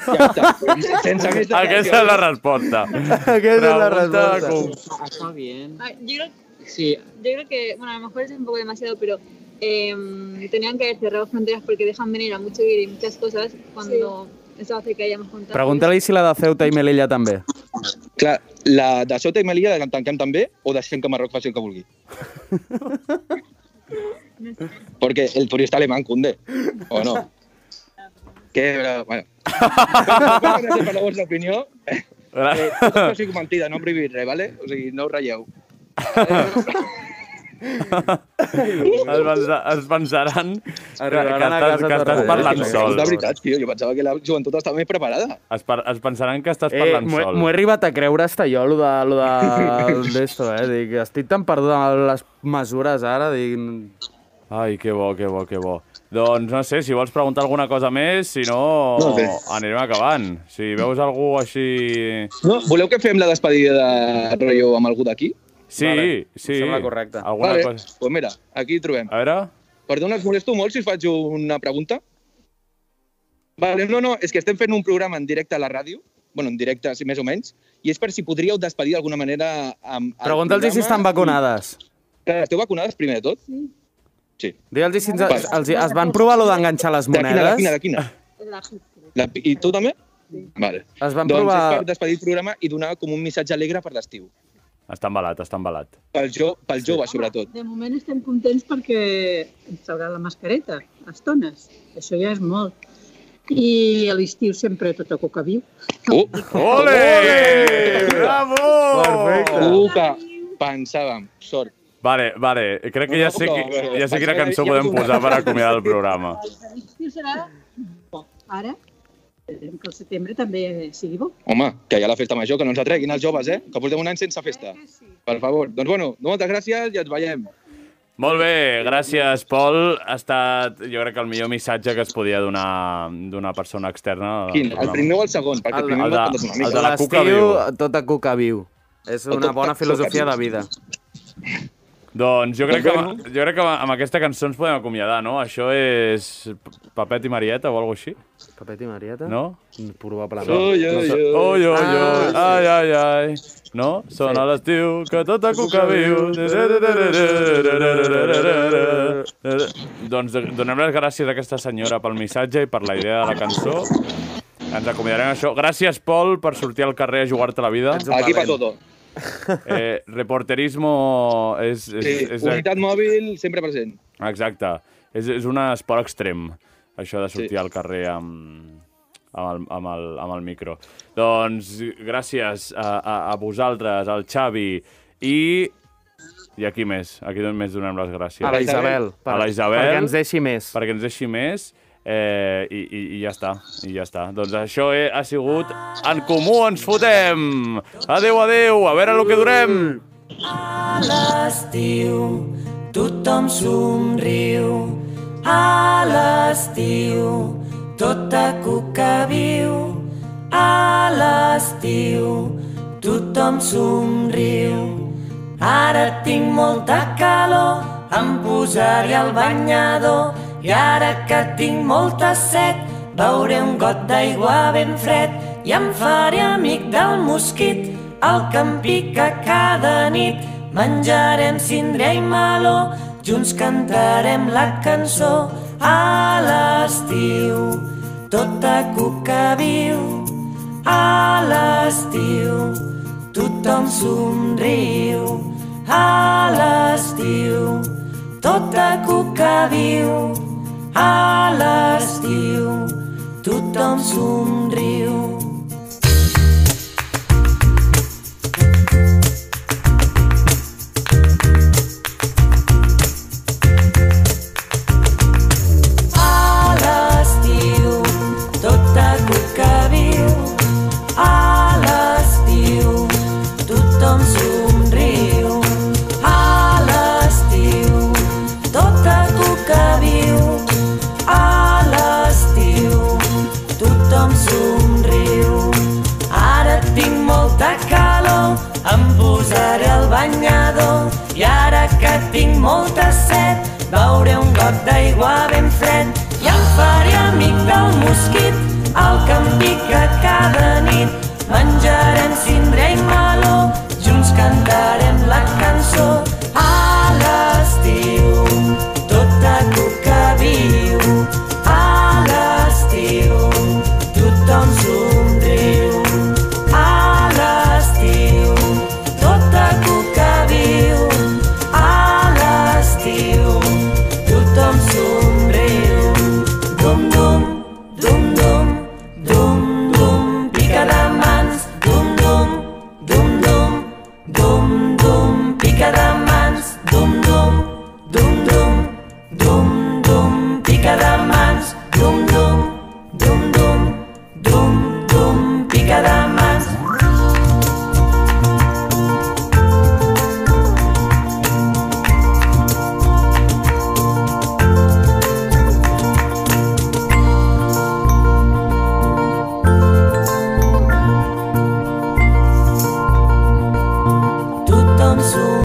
[SPEAKER 5] Ja està. Sense més
[SPEAKER 3] Aquesta és la resposta.
[SPEAKER 4] Aquesta és la
[SPEAKER 3] Pregunta
[SPEAKER 4] resposta.
[SPEAKER 3] com-
[SPEAKER 12] Está bien.
[SPEAKER 10] Ah, yo, creo,
[SPEAKER 12] Sí,
[SPEAKER 10] yo creo que, bueno, a lo mejor es un poco demasiado, pero em, tenían que haber cerrado fronteras porque dejan venir a mucho ir y muchas cosas cuando eso hace que haya más contagios.
[SPEAKER 4] Pregunta-li si la de Ceuta i Melilla també.
[SPEAKER 5] Clar, la de Sota i Melilla la tanquem també o deixem que Marroc faci el que vulgui? Perquè el turista alemán cunde, o no? Que, eh, bueno... Gràcies per la vostra opinió. Eh, tot això sigui mentida, no prohibir res, vale? O sigui, no us ratlleu.
[SPEAKER 3] es, pensa, es pensaran que, que, estàs, que estàs parlant sol.
[SPEAKER 5] De veritat, tio, jo pensava que la joventut estava més preparada.
[SPEAKER 3] Es, par es pensaran que estàs
[SPEAKER 4] Eh,
[SPEAKER 3] parlant
[SPEAKER 4] m'ho he-
[SPEAKER 3] sol.
[SPEAKER 4] m'ho he arribat a creure hasta jo, lo de, lo de, d'esto, eh? Dic, estic tan perdut amb les mesures ara, dic...
[SPEAKER 3] Ai, que bo, que bo, que bo. Doncs no sé, si vols preguntar alguna cosa més, si no,
[SPEAKER 5] No, bé.
[SPEAKER 3] anirem acabant. Si veus algú així...
[SPEAKER 5] No, voleu que fem la despedida de rotllo amb algú d'aquí?
[SPEAKER 3] Sí,
[SPEAKER 5] Vale,
[SPEAKER 3] sí.
[SPEAKER 5] em sembla correcte.
[SPEAKER 3] Alguna
[SPEAKER 5] vale,
[SPEAKER 3] cosa...
[SPEAKER 5] Pues mira, aquí trobem.
[SPEAKER 3] A veure...
[SPEAKER 5] Perdona, us molesto molt si us faig una pregunta? Vale, no, no, és que estem fent un programa en directe a la ràdio, bueno, en directe, sí, més o menys, i és per si podríeu despedir d'alguna manera amb... el
[SPEAKER 4] Pregunta'ls si
[SPEAKER 5] programa.
[SPEAKER 4] estan vacunades.
[SPEAKER 5] Clar, esteu vacunades primer de tot? Sí.
[SPEAKER 4] Digue'ls si ens,
[SPEAKER 5] Vale.
[SPEAKER 4] els, es van provar lo d'enganxar les
[SPEAKER 5] De quina,
[SPEAKER 4] monedes.
[SPEAKER 5] de quina, de quina? La, I tu també? Vale.
[SPEAKER 4] Es van
[SPEAKER 5] doncs és
[SPEAKER 4] provar-
[SPEAKER 5] per despedir el programa i donar com un missatge alegre per l'estiu.
[SPEAKER 3] Està embalat, està embalat.
[SPEAKER 5] Pel, jo, pel jove, sobretot.
[SPEAKER 13] De moment estem contents perquè ens traurà la mascareta, a estones. Això ja és molt. I a l'estiu sempre tot el coca viu.
[SPEAKER 5] Uh!
[SPEAKER 13] Ole!
[SPEAKER 3] Bravo!
[SPEAKER 5] Perfecte.
[SPEAKER 4] Oh.
[SPEAKER 5] Uh, que pensàvem, sort.
[SPEAKER 3] Vale, vale, crec que ja sé,
[SPEAKER 5] No,
[SPEAKER 3] qui,
[SPEAKER 5] no, no,
[SPEAKER 3] ja sé quina
[SPEAKER 5] pensava
[SPEAKER 3] cançó
[SPEAKER 5] que ja
[SPEAKER 3] podem
[SPEAKER 5] posava.
[SPEAKER 3] posar per acomiadar el programa.
[SPEAKER 13] L'estiu serà eh? bo. Ara, esperem que el setembre també sigui bo.
[SPEAKER 5] Home, que hi ha la festa major, que no ens la treguin els joves, eh? Que portem un any sense festa. Per favor. Doncs bueno, moltes gràcies i ens veiem.
[SPEAKER 3] Molt bé, gràcies, Pol. Ha estat, jo crec que el millor missatge que es podia donar d'una persona externa. al
[SPEAKER 5] Quin? El
[SPEAKER 3] programa.
[SPEAKER 5] primer o el segon? Perquè el, primer
[SPEAKER 3] el,
[SPEAKER 5] m'ha
[SPEAKER 3] de,
[SPEAKER 5] contat una mica.
[SPEAKER 3] el de la cuca viu. Tota
[SPEAKER 4] Tota cuca viu. És
[SPEAKER 5] O
[SPEAKER 4] una
[SPEAKER 5] tot
[SPEAKER 4] bona
[SPEAKER 5] coca
[SPEAKER 4] filosofia
[SPEAKER 5] viu.
[SPEAKER 4] de vida.
[SPEAKER 3] Doncs jo crec, que,
[SPEAKER 5] Doncs
[SPEAKER 3] jo crec que amb aquesta cançó ens podem acomiadar, no? Això és Papet i Marieta o alguna així?
[SPEAKER 4] Papet i Marieta?
[SPEAKER 3] No?
[SPEAKER 4] Probablement.
[SPEAKER 3] Oi, oi, oi. Oi, oi,
[SPEAKER 5] Ah,
[SPEAKER 3] oi. Ai, ai, ai. No? Són a l'estiu, que tota cuca viu. Doncs donem les gràcies a aquesta senyora pel missatge i per la idea de la cançó. Ens acomiadarem això. Gràcies, Pol, per sortir al carrer a jugar-te la vida.
[SPEAKER 5] Aquí per tot.
[SPEAKER 3] Eh, reporterismo és... és,
[SPEAKER 5] Sí,
[SPEAKER 3] és,
[SPEAKER 5] unitat mòbil sempre present.
[SPEAKER 3] Exacte. És, és un esport extrem, això de sortir sí. al carrer amb, amb, el, amb, el, amb el micro. Doncs gràcies a, a, a vosaltres, al Xavi i... I aquí més, aquí més donem les gràcies.
[SPEAKER 4] A la Isabel,
[SPEAKER 3] a la
[SPEAKER 4] per-
[SPEAKER 3] Isabel.
[SPEAKER 4] perquè ens deixi més.
[SPEAKER 3] Perquè ens deixi més. Eh, i, i, I ja està, i ja està. Doncs això he, ha sigut En Comú Ens Fotem! Adeu, adeu, a veure el que durem!
[SPEAKER 11] A l'estiu tothom somriu, a l'estiu tota cuca viu, a l'estiu tothom somriu. Ara tinc molta calor, em posaré al banyador i ara que tinc molta set beuré un got d'aigua ben fred i em faré amic del mosquit el que em pica cada nit menjarem síndria i meló Junts cantarem la cançó a l'estiu, tota cuca viu. A l'estiu, tothom somriu. A l'estiu, tota cuca viu. A l'estiu, tothom somriu. A l'estiu, tota cuca viu. A l'estiu, tothom somriu. A l'estiu, tota cuca viu. A l'estiu, tothom somriu. Ara tinc molta calor, em posaré el banyador. I ara que tinc molta set, beuré un got d'aigua ben fred. I em faré amic del mosquit, el que em pica cada nit. Menjarem cindre i meló, junts cantarem la cançó